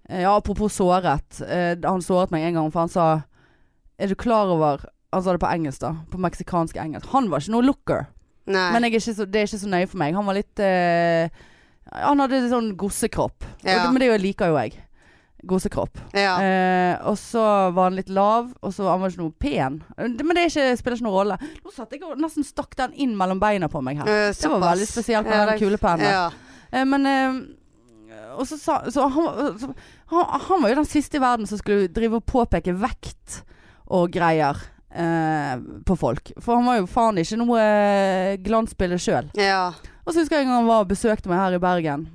Speaker 1: eh, Ja, apropos såret. Eh, han såret meg en gang, for han sa Er du klar over Han sa det på engelsk, da. På meksikansk engelsk. Han var ikke noe looker.
Speaker 2: Nei.
Speaker 1: Men jeg er ikke så, det er ikke så nøye for meg. Han var litt eh, Han hadde litt sånn gossekropp. Og
Speaker 2: Ja.
Speaker 1: det- Men det liker jo jeg. Gossekropp.
Speaker 2: ja.
Speaker 1: Eh, og så var han litt lav, og så han var ikke noe pen. Det- Men det er ikke, spiller ikke noen rolle. Nå satt jeg og nesten stakk den inn mellom beina på meg her.
Speaker 2: Eh,
Speaker 1: Det var
Speaker 2: såpass.
Speaker 1: veldig spesielt med
Speaker 2: Ja,
Speaker 1: den
Speaker 2: det-
Speaker 1: kulepennen.
Speaker 2: Ja.
Speaker 1: Eh, Men eh, Og så sa så han, var- så, han, han var jo den siste i verden som skulle drive og påpeke vekt og greier eh, på folk. For han var jo faen ikke noe eh, glansbilde sjøl.
Speaker 2: ja.
Speaker 1: Og så husker jeg en gang han var og besøkte meg her i Bergen.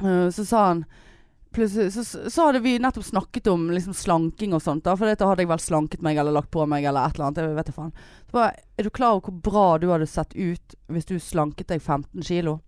Speaker 1: Eh, så sa han Plutselig så, så hadde vi nettopp snakket om liksom, slanking og sånt. Da, for dette hadde jeg vel slanket meg eller lagt på meg eller et eller annet. Jeg vet da faen. Så bare Er du klar over hvor bra du hadde sett ut hvis du slanket deg 15 kilo?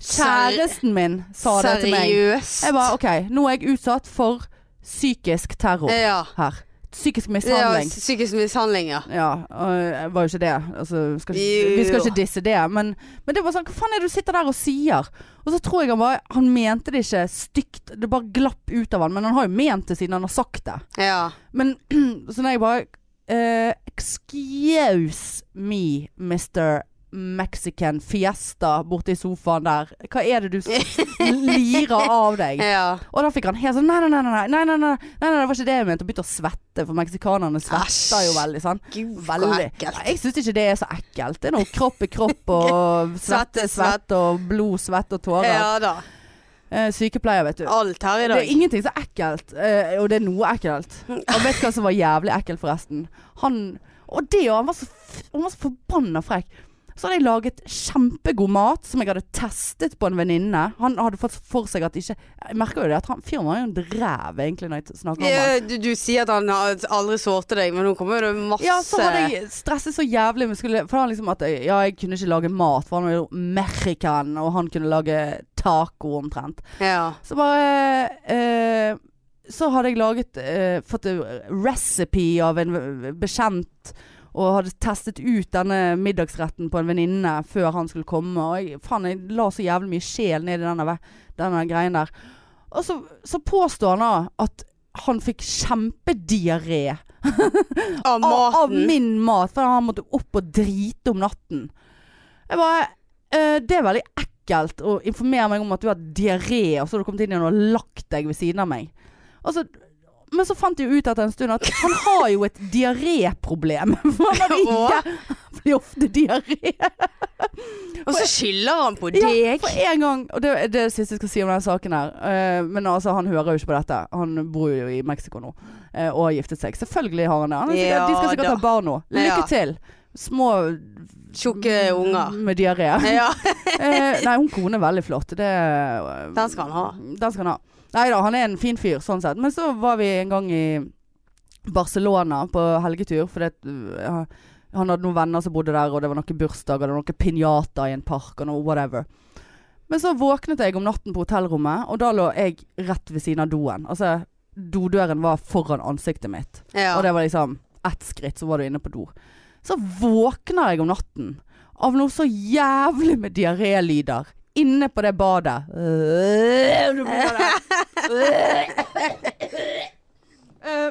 Speaker 2: Ser-
Speaker 1: Kjæresten min sa det til meg.
Speaker 2: Seriøst?
Speaker 1: Jeg bare OK, nå er jeg utsatt for psykisk terror
Speaker 2: Ja.
Speaker 1: her. Psykisk
Speaker 2: Eh, ja.
Speaker 1: mishandling.
Speaker 2: Psykisk mishandling, ja.
Speaker 1: Ja, og jeg var jo ikke det. Altså, skal ikke, vi skal
Speaker 2: Jo.
Speaker 1: ikke disse det. Men, men det var sånn Hva faen er det du sitter der og sier? Og så tror jeg han bare Han mente det ikke stygt. Det bare glapp ut av han. Men han har jo ment det siden han har sagt det.
Speaker 2: Ja.
Speaker 1: Men så når jeg bare eh, Excuse me, Mr. Mexican fiesta borte i sofaen der. Hva er det du s- lirer av deg?
Speaker 2: Ja.
Speaker 1: Og da fikk han helt sånn nei nei nei, nei, nei, nei, nei, nei, nei, nei, det var ikke det jeg mente. Og begynte å svette, for meksikanerne svetter jo
Speaker 2: Æsj.
Speaker 1: veldig, sant.
Speaker 2: Gud, så
Speaker 1: Veldig.
Speaker 2: ekkelt.
Speaker 1: Jeg syns ikke det er så ekkelt. Det er noe kropp er kropp, og svette er svett, og blod, svett og tårer.
Speaker 2: Ja da.
Speaker 1: Eh, sykepleier, vet du.
Speaker 2: Alt her i
Speaker 1: Det er
Speaker 2: dag.
Speaker 1: ingenting så ekkelt, eh, og det er noe ekkelt. Og vet du hva som var jævlig ekkelt, forresten? Han Og det òg, han, var så f- han var så forbanna frekk. Så hadde jeg laget kjempegod mat som jeg hadde testet på en venninne. Han hadde fått for seg at ikke Jeg merker jo det at han fyren var jo en ræv, egentlig, når jeg snakker om han.
Speaker 2: Ja, Du, du sier at han har aldri sårte deg, men nå kommer det masse
Speaker 1: Ja, så hadde jeg stresset så jævlig med skulle, For han liksom at jeg, ja, jeg kunne ikke lage mat For han var jo American Og han kunne lage taco omtrent
Speaker 2: Ja.
Speaker 1: Så bare eh, Så hadde jeg laget eh, Fått en recipe av en v- bekjent Og hadde testet ut denne middagsretten På en venninne Før han skulle komme Og jeg, faen, jeg la så jævlig mye sjel ned i denne, ve- denne greien der Og så, så påstår han da At han fikk kjempediaré
Speaker 2: Av
Speaker 1: av, av
Speaker 2: maten.
Speaker 1: min mat, for han måtte opp og drite om natten. Jeg bare eh, Det er veldig ekkelt å informere meg om at du har diaré, og så har du kommet inn igjen og lagt deg ved siden av meg. Altså, men så fant jeg jo ut etter en stund at han har jo et diaréproblem. For han
Speaker 2: Åh.
Speaker 1: har jævlig ofte diaré.
Speaker 2: Og så skylder han på
Speaker 1: Ja,
Speaker 2: deg.
Speaker 1: for en gang Og det det er det siste jeg skal si om den saken her. Eh, men altså, han hører jo ikke på dette. Han bor jo i Mexico nå eh, og har giftet seg. Selvfølgelig har han det. Han er sikkert,
Speaker 2: Ja
Speaker 1: de skal sikkert
Speaker 2: da.
Speaker 1: ha barn nå. Lykke
Speaker 2: Ja.
Speaker 1: til. Små
Speaker 2: Tjukke unger.
Speaker 1: med diaré.
Speaker 2: Ja.
Speaker 1: Eh, nei, hun kone er veldig flott. Det,
Speaker 2: Den skal han ha.
Speaker 1: Den skal han ha. Nei da, han er en fin fyr sånn sett. Men så var vi en gang i Barcelona på helgetur, fordi at, øh, han hadde noen venner som bodde der, og det var noen bursdager, det var noen pinjater i en park og noe whatever. Men så våknet jeg om natten på hotellrommet, og da lå jeg rett ved siden av doen. Altså, dodøren var foran ansiktet mitt.
Speaker 2: Ja.
Speaker 1: Og det var liksom ett skritt, så var du inne på do. Så våkner jeg om natten av noe så jævlig med diarélyder inne på det badet. Øh, du må det. Øh.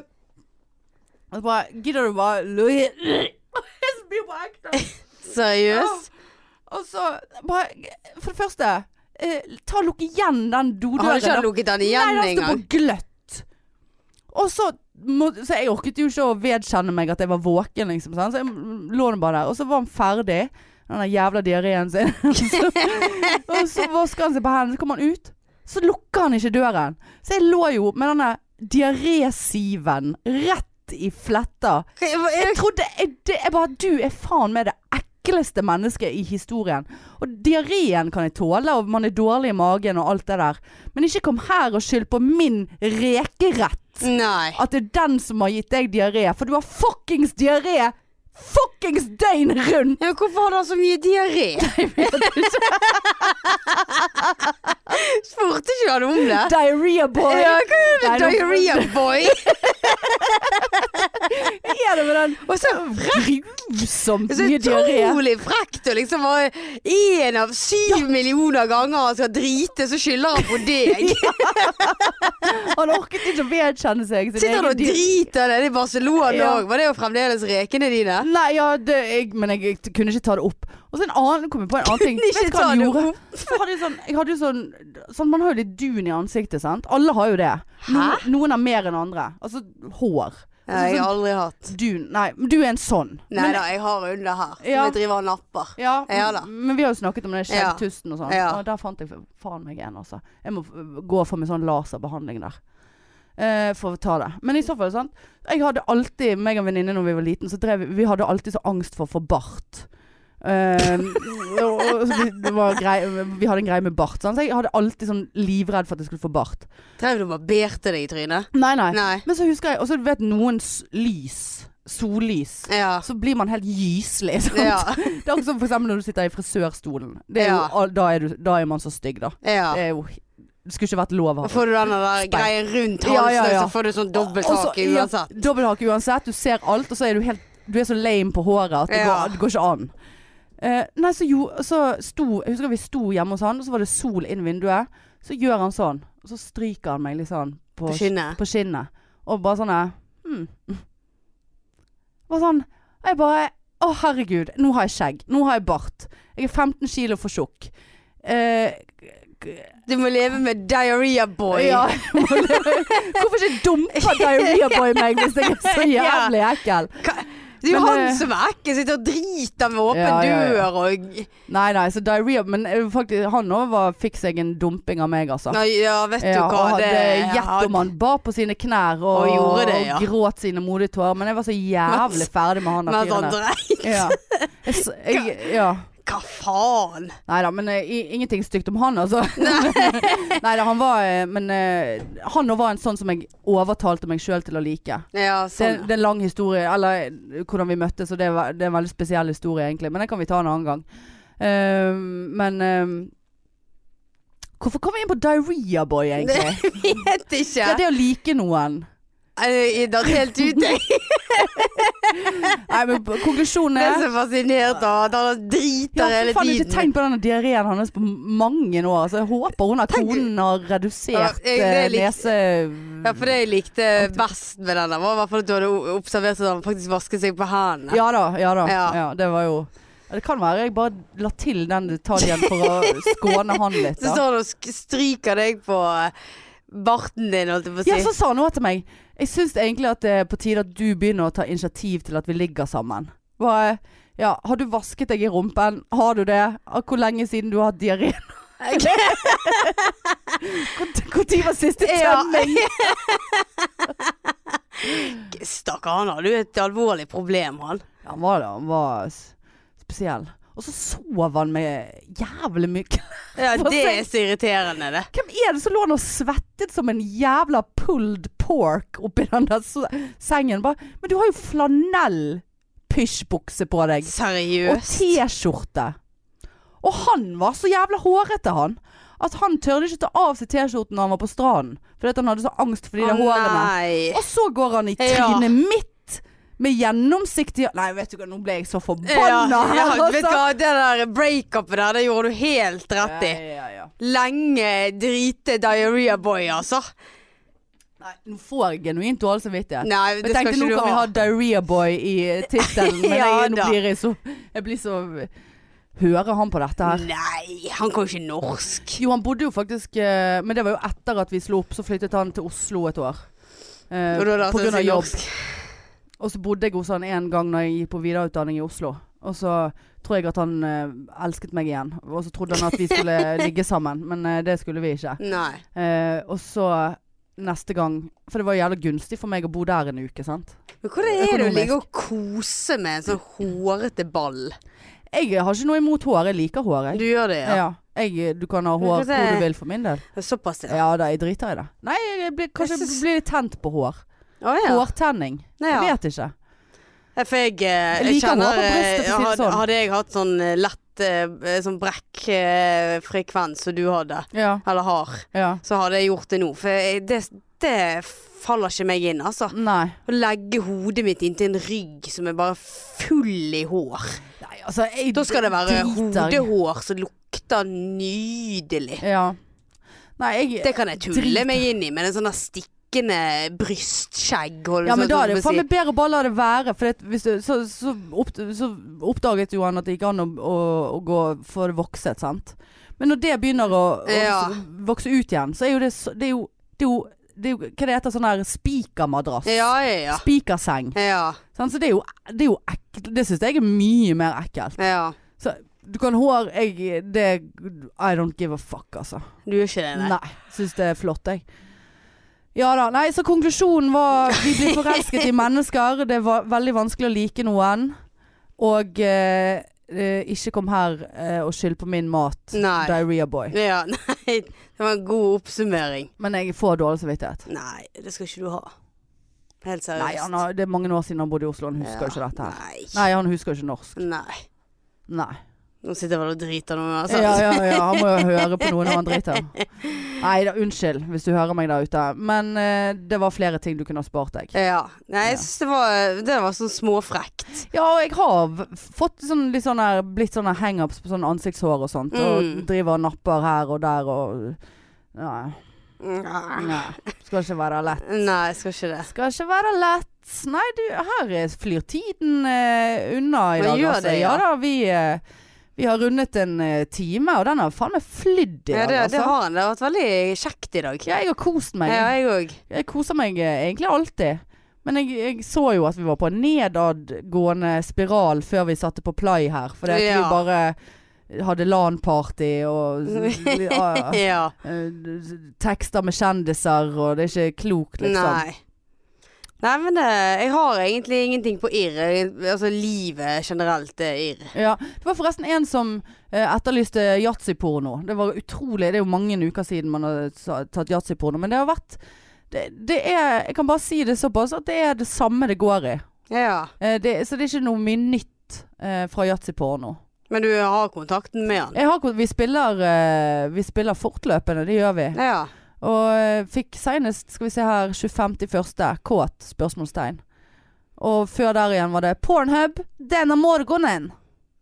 Speaker 1: Og så bare Gidder du bare løye? Jeg blir bare ekte.
Speaker 2: Seriøst?
Speaker 1: Og så bare For det første, eh, ta og lukk igjen den
Speaker 2: Han har
Speaker 1: dodøren.
Speaker 2: ikke
Speaker 1: da.
Speaker 2: lukket den igjen
Speaker 1: Nei, den sto
Speaker 2: engang.
Speaker 1: på gløtt. Og så, må, så jeg orket jo ikke å vedkjenne meg at jeg var våken, liksom. sant? Så jeg lå nå bare der. Og så var han ferdig, den der jævla diareen sin. Så- og så vasker han seg på hendene, så kommer han ut. Så lukker han ikke døren. Så jeg lå jo med denne diarésiven rett i fletta.
Speaker 2: Hva-
Speaker 1: Jeg trodde jeg, det, jeg bare Du er faen meg det ekleste mennesket i historien. Og diareen kan jeg tåle, og man er dårlig i magen og alt det der. Men ikke kom her og skyld på min rekerett.
Speaker 2: Nei.
Speaker 1: At det er den som har gitt deg diaré. For du har fuckings diaré fuckings døgnet rundt!
Speaker 2: Ja, hvorfor har han så mye diaré? Spurte ikke han om det?
Speaker 1: Diarrhea boy.
Speaker 2: Ja, hva er det?
Speaker 1: Nei, nå-
Speaker 2: Diarrhea boy.
Speaker 1: Hva er det med den?
Speaker 2: Og så
Speaker 1: Grusomt
Speaker 2: så
Speaker 1: mye diaré.
Speaker 2: utrolig frekt å liksom være én av syv millioner ganger han skal drite, så skylder han på deg.
Speaker 1: Han orket ikke å vedkjenne seg sin
Speaker 2: Sitter han og
Speaker 1: diaré.
Speaker 2: driter nede i Barcelona òg?
Speaker 1: Ja.
Speaker 2: Var det jo fremdeles rekene dine?
Speaker 1: Nei, ja, det, jeg, men jeg, jeg kunne ikke ta det opp. Og så en annen, kom jeg på en annen ting.
Speaker 2: Kunne ikke
Speaker 1: Vet du hva
Speaker 2: ta
Speaker 1: han
Speaker 2: det
Speaker 1: gjorde?
Speaker 2: opp.
Speaker 1: Jeg hadde jo sånn, jeg hadde jo sånn, sånn Man har jo litt dun i ansiktet, sant? Alle har jo det.
Speaker 2: Hæ?
Speaker 1: Noen, noen har mer enn andre. Altså hår.
Speaker 2: Nei, jeg har aldri hatt.
Speaker 1: Dun. Nei, men du er en sånn.
Speaker 2: Nei da, jeg har under her.
Speaker 1: Ja.
Speaker 2: Jeg driver og napper.
Speaker 1: Ja,
Speaker 2: Ja da.
Speaker 1: men vi har jo snakket om den skjeggtusten og sånn.
Speaker 2: Ja.
Speaker 1: Og der fant jeg faen meg en, altså. Jeg må f- gå for meg sånn laserbehandling der. Eh, for å ta det. Men i så fall, sant. Jeg hadde alltid, meg og en venninne når vi var liten, så drev vi Vi hadde alltid så angst for å få bart. Eh, og, og, så vi, det var grei, vi hadde en greie med bart, sant? så jeg hadde alltid sånn livredd for at jeg skulle få bart.
Speaker 2: Drev du og barberte deg i trynet?
Speaker 1: Nei, nei.
Speaker 2: Nei.
Speaker 1: Men så husker jeg Og så du vet noen s- lys. Sollys.
Speaker 2: Ja.
Speaker 1: Så blir man helt gyselig. Sant?
Speaker 2: Ja.
Speaker 1: Det er også som for eksempel når du sitter i frisørstolen. Det er
Speaker 2: Ja.
Speaker 1: jo, al- da, er du, da er man så stygg, da.
Speaker 2: ja.
Speaker 1: Det er jo Det skulle ikke vært lov å
Speaker 2: Da
Speaker 1: ha.
Speaker 2: får du den der
Speaker 1: Speil.
Speaker 2: greien rundt
Speaker 1: Ja, ja,
Speaker 2: halsen,
Speaker 1: ja.
Speaker 2: så får du sånn
Speaker 1: Og så-
Speaker 2: dobbelthake
Speaker 1: ja,
Speaker 2: uansett.
Speaker 1: Dobbelthake uansett. Du ser alt, og så er du helt Du er så lame på håret at det,
Speaker 2: Ja.
Speaker 1: går, det går ikke an. Eh, nei, så, jo, så sto Jeg husker vi sto hjemme hos han, og så var det sol inn vinduet. Så gjør han sånn, og så stryker han meg litt sånn på,
Speaker 2: På kinnet.
Speaker 1: på skinnet. Og bare sånn eh, hmm. Bare sånn Jeg bare Å, herregud, nå har jeg skjegg. Nå har jeg bart. Jeg er 15 kilo for tjukk. Eh,
Speaker 2: Du må leve med diaré boy.
Speaker 1: ja, jeg må le- Hvorfor ikke dumpe Diarrhea Boy meg hvis jeg er så
Speaker 2: Ja.
Speaker 1: jævlig ekkel?
Speaker 2: Det er jo
Speaker 1: Men,
Speaker 2: han
Speaker 1: eh,
Speaker 2: som er ekkel. Sitter og driter med åpen
Speaker 1: Ja, ja, ja.
Speaker 2: dør og
Speaker 1: Nei, nei, så diarrhea Men eh, faktisk, han òg fikk seg en dumping av meg, altså.
Speaker 2: Nei, ja, vet du
Speaker 1: Ja,
Speaker 2: hva.
Speaker 1: og hadde
Speaker 2: det-
Speaker 1: gjett om han bar på sine knær og,
Speaker 2: Og gjorde det, ja. sånn,
Speaker 1: og gråt sine modige tårer. Men jeg var så jævlig
Speaker 2: Mens-
Speaker 1: ferdig med han der
Speaker 2: Mens han
Speaker 1: fyren der.
Speaker 2: dreier
Speaker 1: Ja. Jeg, s- jeg, ja.
Speaker 2: Hva faen?
Speaker 1: Nei da, men eh, i- ingenting stygt om han, altså. Nei da, han var eh, Men eh, han òg var en sånn som jeg overtalte meg sjøl til å like.
Speaker 2: Ja,
Speaker 1: Det,
Speaker 2: sånn.
Speaker 1: det er en lang historie, eller eh, hvordan vi møttes, og det er, ve- det er en veldig spesiell historie egentlig. Men den kan vi ta en annen gang. Ehm, men ehm, Hvorfor kom vi inn på Diarrhea Boy, egentlig?
Speaker 2: Vet ikke.
Speaker 1: Ja, det å like noen.
Speaker 2: Jeg er da helt ute.
Speaker 1: Nei, men på- konklusjonen
Speaker 2: Jeg er
Speaker 1: er
Speaker 2: så fascinert av at han
Speaker 1: ja,
Speaker 2: driter
Speaker 1: for faen, jeg har
Speaker 2: hele
Speaker 1: ikke
Speaker 2: tiden.
Speaker 1: tenkt på denne diareen hans på mange år. Så jeg håper hun at
Speaker 2: Tenk-
Speaker 1: konen har redusert
Speaker 2: Ja, jeg- det er
Speaker 1: eh,
Speaker 2: litt-
Speaker 1: nese...
Speaker 2: Ja, for det jeg likte best med den, der, var i hvert fall at du hadde o- observert at han faktisk vasket seg på hendene.
Speaker 1: Ja da, ja da. Ja.
Speaker 2: Ja.
Speaker 1: det var jo Ja, Det kan være jeg bare la til den detaljen for å skåne han litt.
Speaker 2: Så
Speaker 1: Da.
Speaker 2: står han og sk- stryker deg på eh, barten din, holdt jeg på å si.
Speaker 1: Ja, så sa han òg til meg Jeg syns egentlig at det er på tide at du begynner å ta initiativ til at vi ligger sammen. Bare, ja, har du vasket deg i rumpen? Har du det? Ah, Hvor lenge siden du har hatt diaré? Når var siste
Speaker 2: Ja.
Speaker 1: tømming?
Speaker 2: Stakkar, han hadde jo et alvorlig problem, han.
Speaker 1: Ja, han var det. Han var s- spesiell. Og så sov han med jævlig mye klær.
Speaker 2: Ja,
Speaker 1: Hva
Speaker 2: det
Speaker 1: sier-
Speaker 2: er så irriterende, det.
Speaker 1: Hvem er det som lå han og svettet som en jævla pulled pork oppi den der se- sengen? Bare, men du har jo flanell pysjbukse på deg. Og
Speaker 2: Seriøst.
Speaker 1: T-skjorte. Og han var så jævla hårete, han. At han tørde ikke ta av seg T-skjorten når han var på stranden. Fordi at han hadde så angst for de der
Speaker 2: Å,
Speaker 1: hårene.
Speaker 2: Nei.
Speaker 1: Og så går han i
Speaker 2: Ja.
Speaker 1: trynet mitt med gjennomsiktig Nei, vet du hva, nå ble jeg så forbanna
Speaker 2: Ja,
Speaker 1: her,
Speaker 2: ja, vet du
Speaker 1: altså.
Speaker 2: hva, det der breakupet der, det gjorde du helt rett i.
Speaker 1: Ja, ja, ja.
Speaker 2: Lenge drite diarrhea boy, altså.
Speaker 1: Nei, nå får jeg genuint dårlig samvittighet.
Speaker 2: Nei,
Speaker 1: Jeg
Speaker 2: det skal
Speaker 1: tenkte nå
Speaker 2: ikke du
Speaker 1: kan vi
Speaker 2: ha.
Speaker 1: ha Diarrhea Boy i tittelen, men
Speaker 2: Ja,
Speaker 1: jeg, nå
Speaker 2: da.
Speaker 1: blir jeg så Jeg blir så Hører han på dette
Speaker 2: Mm.
Speaker 1: her?
Speaker 2: Nei, han kan jo ikke norsk.
Speaker 1: Jo, han bodde jo faktisk eh, Men det var jo etter at vi slo opp, så flyttet han til Oslo et år. Eh,
Speaker 2: Og da altså lærte
Speaker 1: på
Speaker 2: han
Speaker 1: grunn av
Speaker 2: seg
Speaker 1: jobb.
Speaker 2: norsk.
Speaker 1: Og så bodde jeg hos han en gang når jeg gikk på videreutdanning i Oslo. Og så tror jeg at han eh, elsket meg igjen. Og så trodde han at vi skulle ligge sammen, men eh, det skulle vi ikke.
Speaker 2: Nei.
Speaker 1: Eh, og så neste gang For det var jævlig gunstig for meg å bo der en uke, sant.
Speaker 2: Men hvordan er det å
Speaker 1: Økonomisk.
Speaker 2: ligge og kose med en sånn hårete ball?
Speaker 1: Jeg har ikke noe imot hår. Jeg liker hår, jeg.
Speaker 2: Du gjør det,
Speaker 1: Ja.
Speaker 2: ja?
Speaker 1: Jeg, du kan ha
Speaker 2: Men
Speaker 1: hår
Speaker 2: hva
Speaker 1: hvor
Speaker 2: er-
Speaker 1: du vil for min del.
Speaker 2: Såpass, ja.
Speaker 1: Ja da, jeg driter i det. Nei, jeg blir, kanskje
Speaker 2: Jeg synes-
Speaker 1: blir litt tent på hår.
Speaker 2: Å ja.
Speaker 1: Hårtenning.
Speaker 2: Nei, ja.
Speaker 1: Jeg vet ikke.
Speaker 2: Ja, For jeg, eh,
Speaker 1: Jeg
Speaker 2: jeg
Speaker 1: liker
Speaker 2: kjenner
Speaker 1: hår på brystet, for å si det
Speaker 2: eh, hadde,
Speaker 1: sånn.
Speaker 2: hadde jeg hatt sånn eh, lett eh, sånn brekkfrekvens som du hadde,
Speaker 1: Ja,
Speaker 2: eller har,
Speaker 1: ja.
Speaker 2: så hadde jeg gjort det nå. For jeg, det, det faller ikke meg inn, altså.
Speaker 1: Nei.
Speaker 2: Å legge hodet mitt inntil en rygg som er bare full i hår.
Speaker 1: Nei, altså jeg
Speaker 2: Da skal det være
Speaker 1: driter i-
Speaker 2: hodehår som lukter nydelig.
Speaker 1: Ja. Nei, jeg
Speaker 2: Det kan jeg tulle
Speaker 1: Drit.
Speaker 2: meg inn i, men en sånn der stikkende brystskjegg. holder
Speaker 1: Ja, men
Speaker 2: sånn
Speaker 1: da er
Speaker 2: som
Speaker 1: det
Speaker 2: å si.
Speaker 1: faen meg bedre å bare la det være. For det, hvis du, så, så, opp, så oppdaget jo han at det gikk an å, å, å gå for det vokset, sant. Men når det begynner å, å
Speaker 2: Ja.
Speaker 1: s- vokse ut igjen, så er jo det så- Det er jo, det er jo, det er jo Hva det heter sånn her spikermadrass?
Speaker 2: Ja, ja, ja.
Speaker 1: Spikerseng.
Speaker 2: Ja,
Speaker 1: Sant? Så det er jo, det er jo ekkelt. Det syns jeg er mye mer ekkelt.
Speaker 2: ja.
Speaker 1: Du kan hår jeg, det, I don't give a fuck, altså.
Speaker 2: Du gjør ikke det, nei?
Speaker 1: Nei, syns det er flott, jeg. Ja da. Nei, så konklusjonen var vi blir forelsket i mennesker. Det var veldig vanskelig å like noen. Og eh, eh, ikke kom her eh, og skyld på min mat.
Speaker 2: Nei.
Speaker 1: Diarrhea boy.
Speaker 2: Ja, nei. Det var en god oppsummering.
Speaker 1: Men jeg får dårlig samvittighet.
Speaker 2: Nei, det skal ikke du ha. Helt seriøst.
Speaker 1: Nei, han har, det er mange år siden han bodde i Oslo. Han husker jo
Speaker 2: Ja,
Speaker 1: ikke dette her.
Speaker 2: Nei.
Speaker 1: Nei, han husker jo ikke norsk.
Speaker 2: nei.
Speaker 1: Nei.
Speaker 2: Nå sitter jeg vel og driter nå, altså.
Speaker 1: Ja, ja, ja, han må jo høre på noe når han driter. Nei da, unnskyld hvis du hører meg der ute. Men eh, det var flere ting du kunne ha spart deg.
Speaker 2: Ja. Nei, jeg
Speaker 1: Ja.
Speaker 2: syns det var Det var sånn småfrekt.
Speaker 1: Ja, og jeg har v- fått sånn, litt sånn her, blitt sånn her hangups på sånn ansiktshår og sånt. Og
Speaker 2: Mm.
Speaker 1: driver og napper her og der og Nei.
Speaker 2: Nei,
Speaker 1: Nei, skal ikke være lett.
Speaker 2: jeg skal ikke det.
Speaker 1: Skal ikke være lett. Nei, du, her er- flyr tiden eh, unna i
Speaker 2: Men
Speaker 1: dag,
Speaker 2: gjør
Speaker 1: altså.
Speaker 2: det, ja.
Speaker 1: ja. da, vi, eh, vi har rundet en eh, time, og den har faen meg flydd i dag,
Speaker 2: Ja, det, det
Speaker 1: altså.
Speaker 2: har han. Det har vært veldig kjekt i dag.
Speaker 1: Ja, jeg har kost meg.
Speaker 2: Ja, jeg òg.
Speaker 1: Jeg koser meg eh, egentlig alltid. Men jeg, jeg så jo at vi var på en nedadgående spiral før vi satte på play her. Fordi at vi
Speaker 2: Ja.
Speaker 1: bare hadde LAN-party og ja,
Speaker 2: Ja.
Speaker 1: eh, tekster med kjendiser, og det er ikke klokt, liksom.
Speaker 2: Nei. Nei, men det, jeg har egentlig ingenting på irr. Jeg- Altså livet generelt er irr.
Speaker 1: Ja, det var forresten en som eh, etterlyste yatzyporno. Det var utrolig. Det er jo mange uker siden man har sa- tatt yatzyporno. Men det har vært det, det er, Jeg kan bare si det såpass at det er det samme det går i.
Speaker 2: Ja.
Speaker 1: Eh, det, så det er ikke noe mye nytt eh, fra yatzyporno.
Speaker 2: Men du har kontakten med han?
Speaker 1: Jeg har kon- Vi spiller eh, Vi spiller fortløpende, det gjør vi.
Speaker 2: Ja.
Speaker 1: Og eh, fikk senest, skal vi se her, 25.1. Kåt? spørsmålstegn. Og før der igjen var det Pornhub denne morgenen.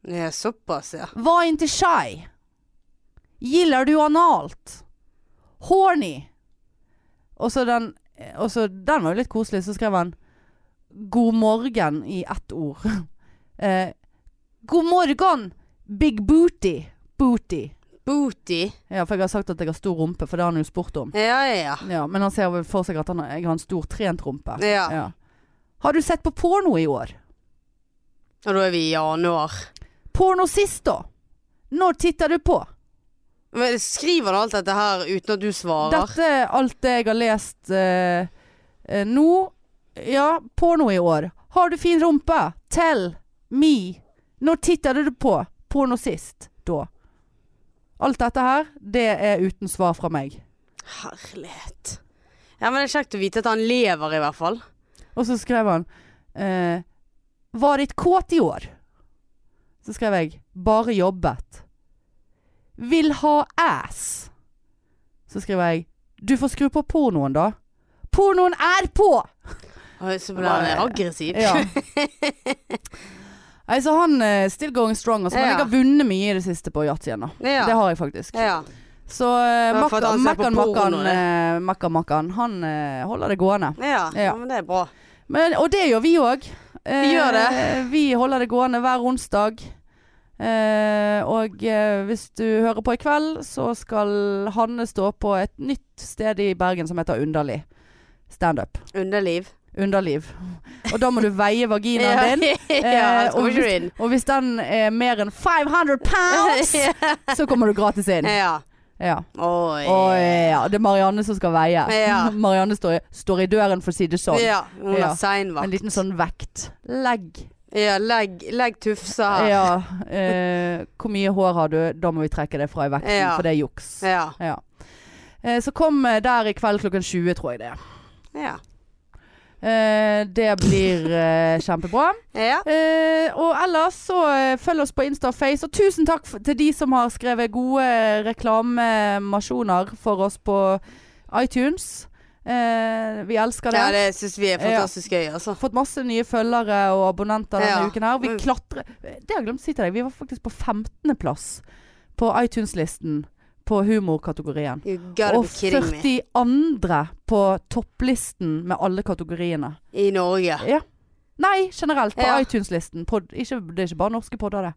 Speaker 2: ja såpass, ja.
Speaker 1: Var inte shy. Gillar du analt? Horny. Og så den, og så den var jo litt koselig, så skrev han God morgen i ett ord. eh, God morgen, big booty. Booty.
Speaker 2: Booty.
Speaker 1: Ja, for jeg har sagt at jeg har stor rumpe, for det har han jo spurt om.
Speaker 2: Ja, ja,
Speaker 1: Ja, men han ser vel for seg at han, har- jeg har en stor trent rumpe.
Speaker 2: ja. ja.
Speaker 1: Ja. Har du sett på porno i år?
Speaker 2: Og da er vi i januar.
Speaker 1: Porno sist, da? Når titter du på?
Speaker 2: Men skriver han alt dette her uten at du svarer?
Speaker 1: Dette er alt det jeg har lest eh, eh, nå. Ja, porno i år. Har du fin rumpe? Tell me. Når tittet du på porno sist, da? Alt dette her, det er uten svar fra meg.
Speaker 2: Herlighet. Ja, men det er kjekt å vite at han lever i hvert fall.
Speaker 1: Og så skrev han eh, Varit kåt i år. Så skrev jeg Bare jobbet. Vil ha ass. Så skriver jeg Du får skru på pornoen, da. Pornoen er på!
Speaker 2: Oi, Så ble han aggressiv.
Speaker 1: Ja. Nei, så han eh, still going strong. Altså, men
Speaker 2: Ja.
Speaker 1: jeg har vunnet mye i det siste på yatzy ennå.
Speaker 2: Ja.
Speaker 1: Det har jeg faktisk.
Speaker 2: Ja.
Speaker 1: Så eh,
Speaker 2: Det var for at han ser på
Speaker 1: Makkan Makkan,
Speaker 2: porno, det.
Speaker 1: eh, Makkan Makkan, han eh, holder det gående.
Speaker 2: Ja.
Speaker 1: Ja.
Speaker 2: ja, men det er bra.
Speaker 1: Men, og det gjør vi òg. Eh,
Speaker 2: Vi gjør det.
Speaker 1: Vi holder det gående hver onsdag. Eh, og eh, hvis du hører på i kveld, så skal Hanne stå på et nytt sted i Bergen som heter Underlig. Standup.
Speaker 2: Underliv.
Speaker 1: Underliv. Og da må du veie vaginaen din.
Speaker 2: ja, han
Speaker 1: Eh, og
Speaker 2: skal ikke inn.
Speaker 1: Og hvis den er mer enn 500 pounds, så kommer du gratis inn.
Speaker 2: Ja.
Speaker 1: Ja.
Speaker 2: Oi.
Speaker 1: Og eh, ja, det er Marianne som skal veie.
Speaker 2: Ja.
Speaker 1: Marianne står i, står i døren, for å si det sånn.
Speaker 2: Ja, hun
Speaker 1: Ja.
Speaker 2: har seinvakt.
Speaker 1: En liten sånn vekt. Legg.
Speaker 2: Ja, legg, legg tufsa her. Ja.
Speaker 1: Ja. Eh, hvor mye hår har du? Da må vi trekke det fra i vekten,
Speaker 2: Ja.
Speaker 1: for det er juks.
Speaker 2: Ja.
Speaker 1: Ja. Eh, så kom eh, der i kveld klokken 20, tror jeg det er.
Speaker 2: ja.
Speaker 1: Eh, det blir eh, kjempebra.
Speaker 2: ja.
Speaker 1: Eh, og ellers så eh, følg oss på Insta og Face. Og tusen takk f- til de som har skrevet gode reklamasjoner for oss på iTunes. Eh, vi elsker det.
Speaker 2: Ja, det syns vi er fantastisk gøy, altså.
Speaker 1: Fått masse nye følgere og abonnenter denne
Speaker 2: Ja.
Speaker 1: uken her. Vi
Speaker 2: Mm.
Speaker 1: klatrer Det har jeg glemt å si til deg. Vi var faktisk på 15.-plass på iTunes-listen på humorkategorien.
Speaker 2: You gotta
Speaker 1: Og
Speaker 2: be kidding me.
Speaker 1: 42. på topplisten med alle kategoriene.
Speaker 2: I Norge.
Speaker 1: Nei, generelt på
Speaker 2: Ja.
Speaker 1: iTunes-listen. Pod- ikke- Det er ikke bare norske podder, det.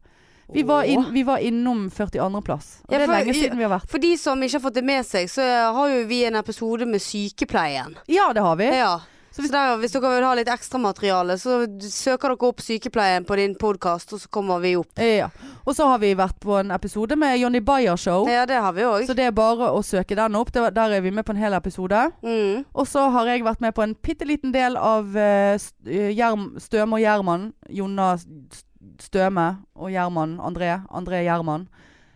Speaker 1: Vi var, inn, vi var innom 42. plass. Og
Speaker 2: Ja,
Speaker 1: det er
Speaker 2: for-
Speaker 1: lenge siden vi har vært.
Speaker 2: For de som ikke har fått det med seg, så har jo vi en episode med sykepleien.
Speaker 1: Ja, det har vi.
Speaker 2: Ja.
Speaker 1: Så
Speaker 2: Så
Speaker 1: hvis-
Speaker 2: der, hvis dere vil ha litt ekstramateriale, så søker dere opp sykepleien på din podkast, og så kommer vi opp.
Speaker 1: Ja. Og så har vi vært på en episode med Johnny Bayer Show.
Speaker 2: Ja, det har vi òg.
Speaker 1: Oh. Så det er bare å søke den opp. Det var- Der er vi med på en hel episode.
Speaker 2: Mm.
Speaker 1: Og så har jeg vært med på en bitte liten del av eh, St- eh, Gjerm- Støme og Gjerman. Jonna St- Støme og Gjerman. André. André Gjerman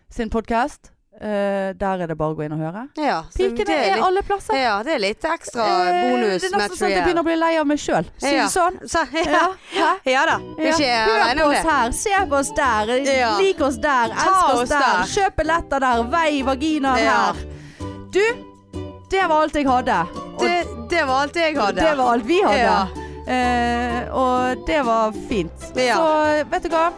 Speaker 1: sin podkast. der er det bare å gå inn og høre.
Speaker 2: Ja, så det
Speaker 1: Pikene er
Speaker 2: litt,
Speaker 1: alle plasser.
Speaker 2: ja, det er litt ekstra
Speaker 1: Eh,
Speaker 2: bonus.
Speaker 1: Det er nesten
Speaker 2: match
Speaker 1: sånn at jeg
Speaker 2: vi er.
Speaker 1: begynner å bli lei av meg sjøl. Si
Speaker 2: Ja.
Speaker 1: det sånn.
Speaker 2: Så, ja.
Speaker 1: Ja. Hæ?
Speaker 2: ja da. Vi er ikke
Speaker 1: Hør
Speaker 2: alene
Speaker 1: på
Speaker 2: om
Speaker 1: oss
Speaker 2: det.
Speaker 1: her, se på oss der,
Speaker 2: Ja.
Speaker 1: lik oss der,
Speaker 2: Ta
Speaker 1: elsk oss,
Speaker 2: oss
Speaker 1: der.
Speaker 2: der.
Speaker 1: Kjøp billetter der, vei vaginaen
Speaker 2: Ja.
Speaker 1: her. Du, det var alt jeg hadde. Og
Speaker 2: Det, det var alt jeg hadde.
Speaker 1: det var alt vi hadde.
Speaker 2: Ja.
Speaker 1: Eh, og det var fint.
Speaker 2: Ja.
Speaker 1: Så vet du hva?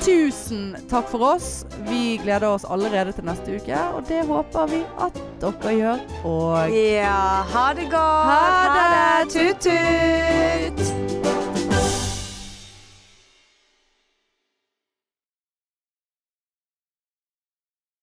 Speaker 1: Tusen takk for oss. Vi gleder oss allerede til neste uke, og det håper vi at dere gjør. Og
Speaker 2: Ja, ha det godt.
Speaker 1: Ha det.
Speaker 2: Tut-tut.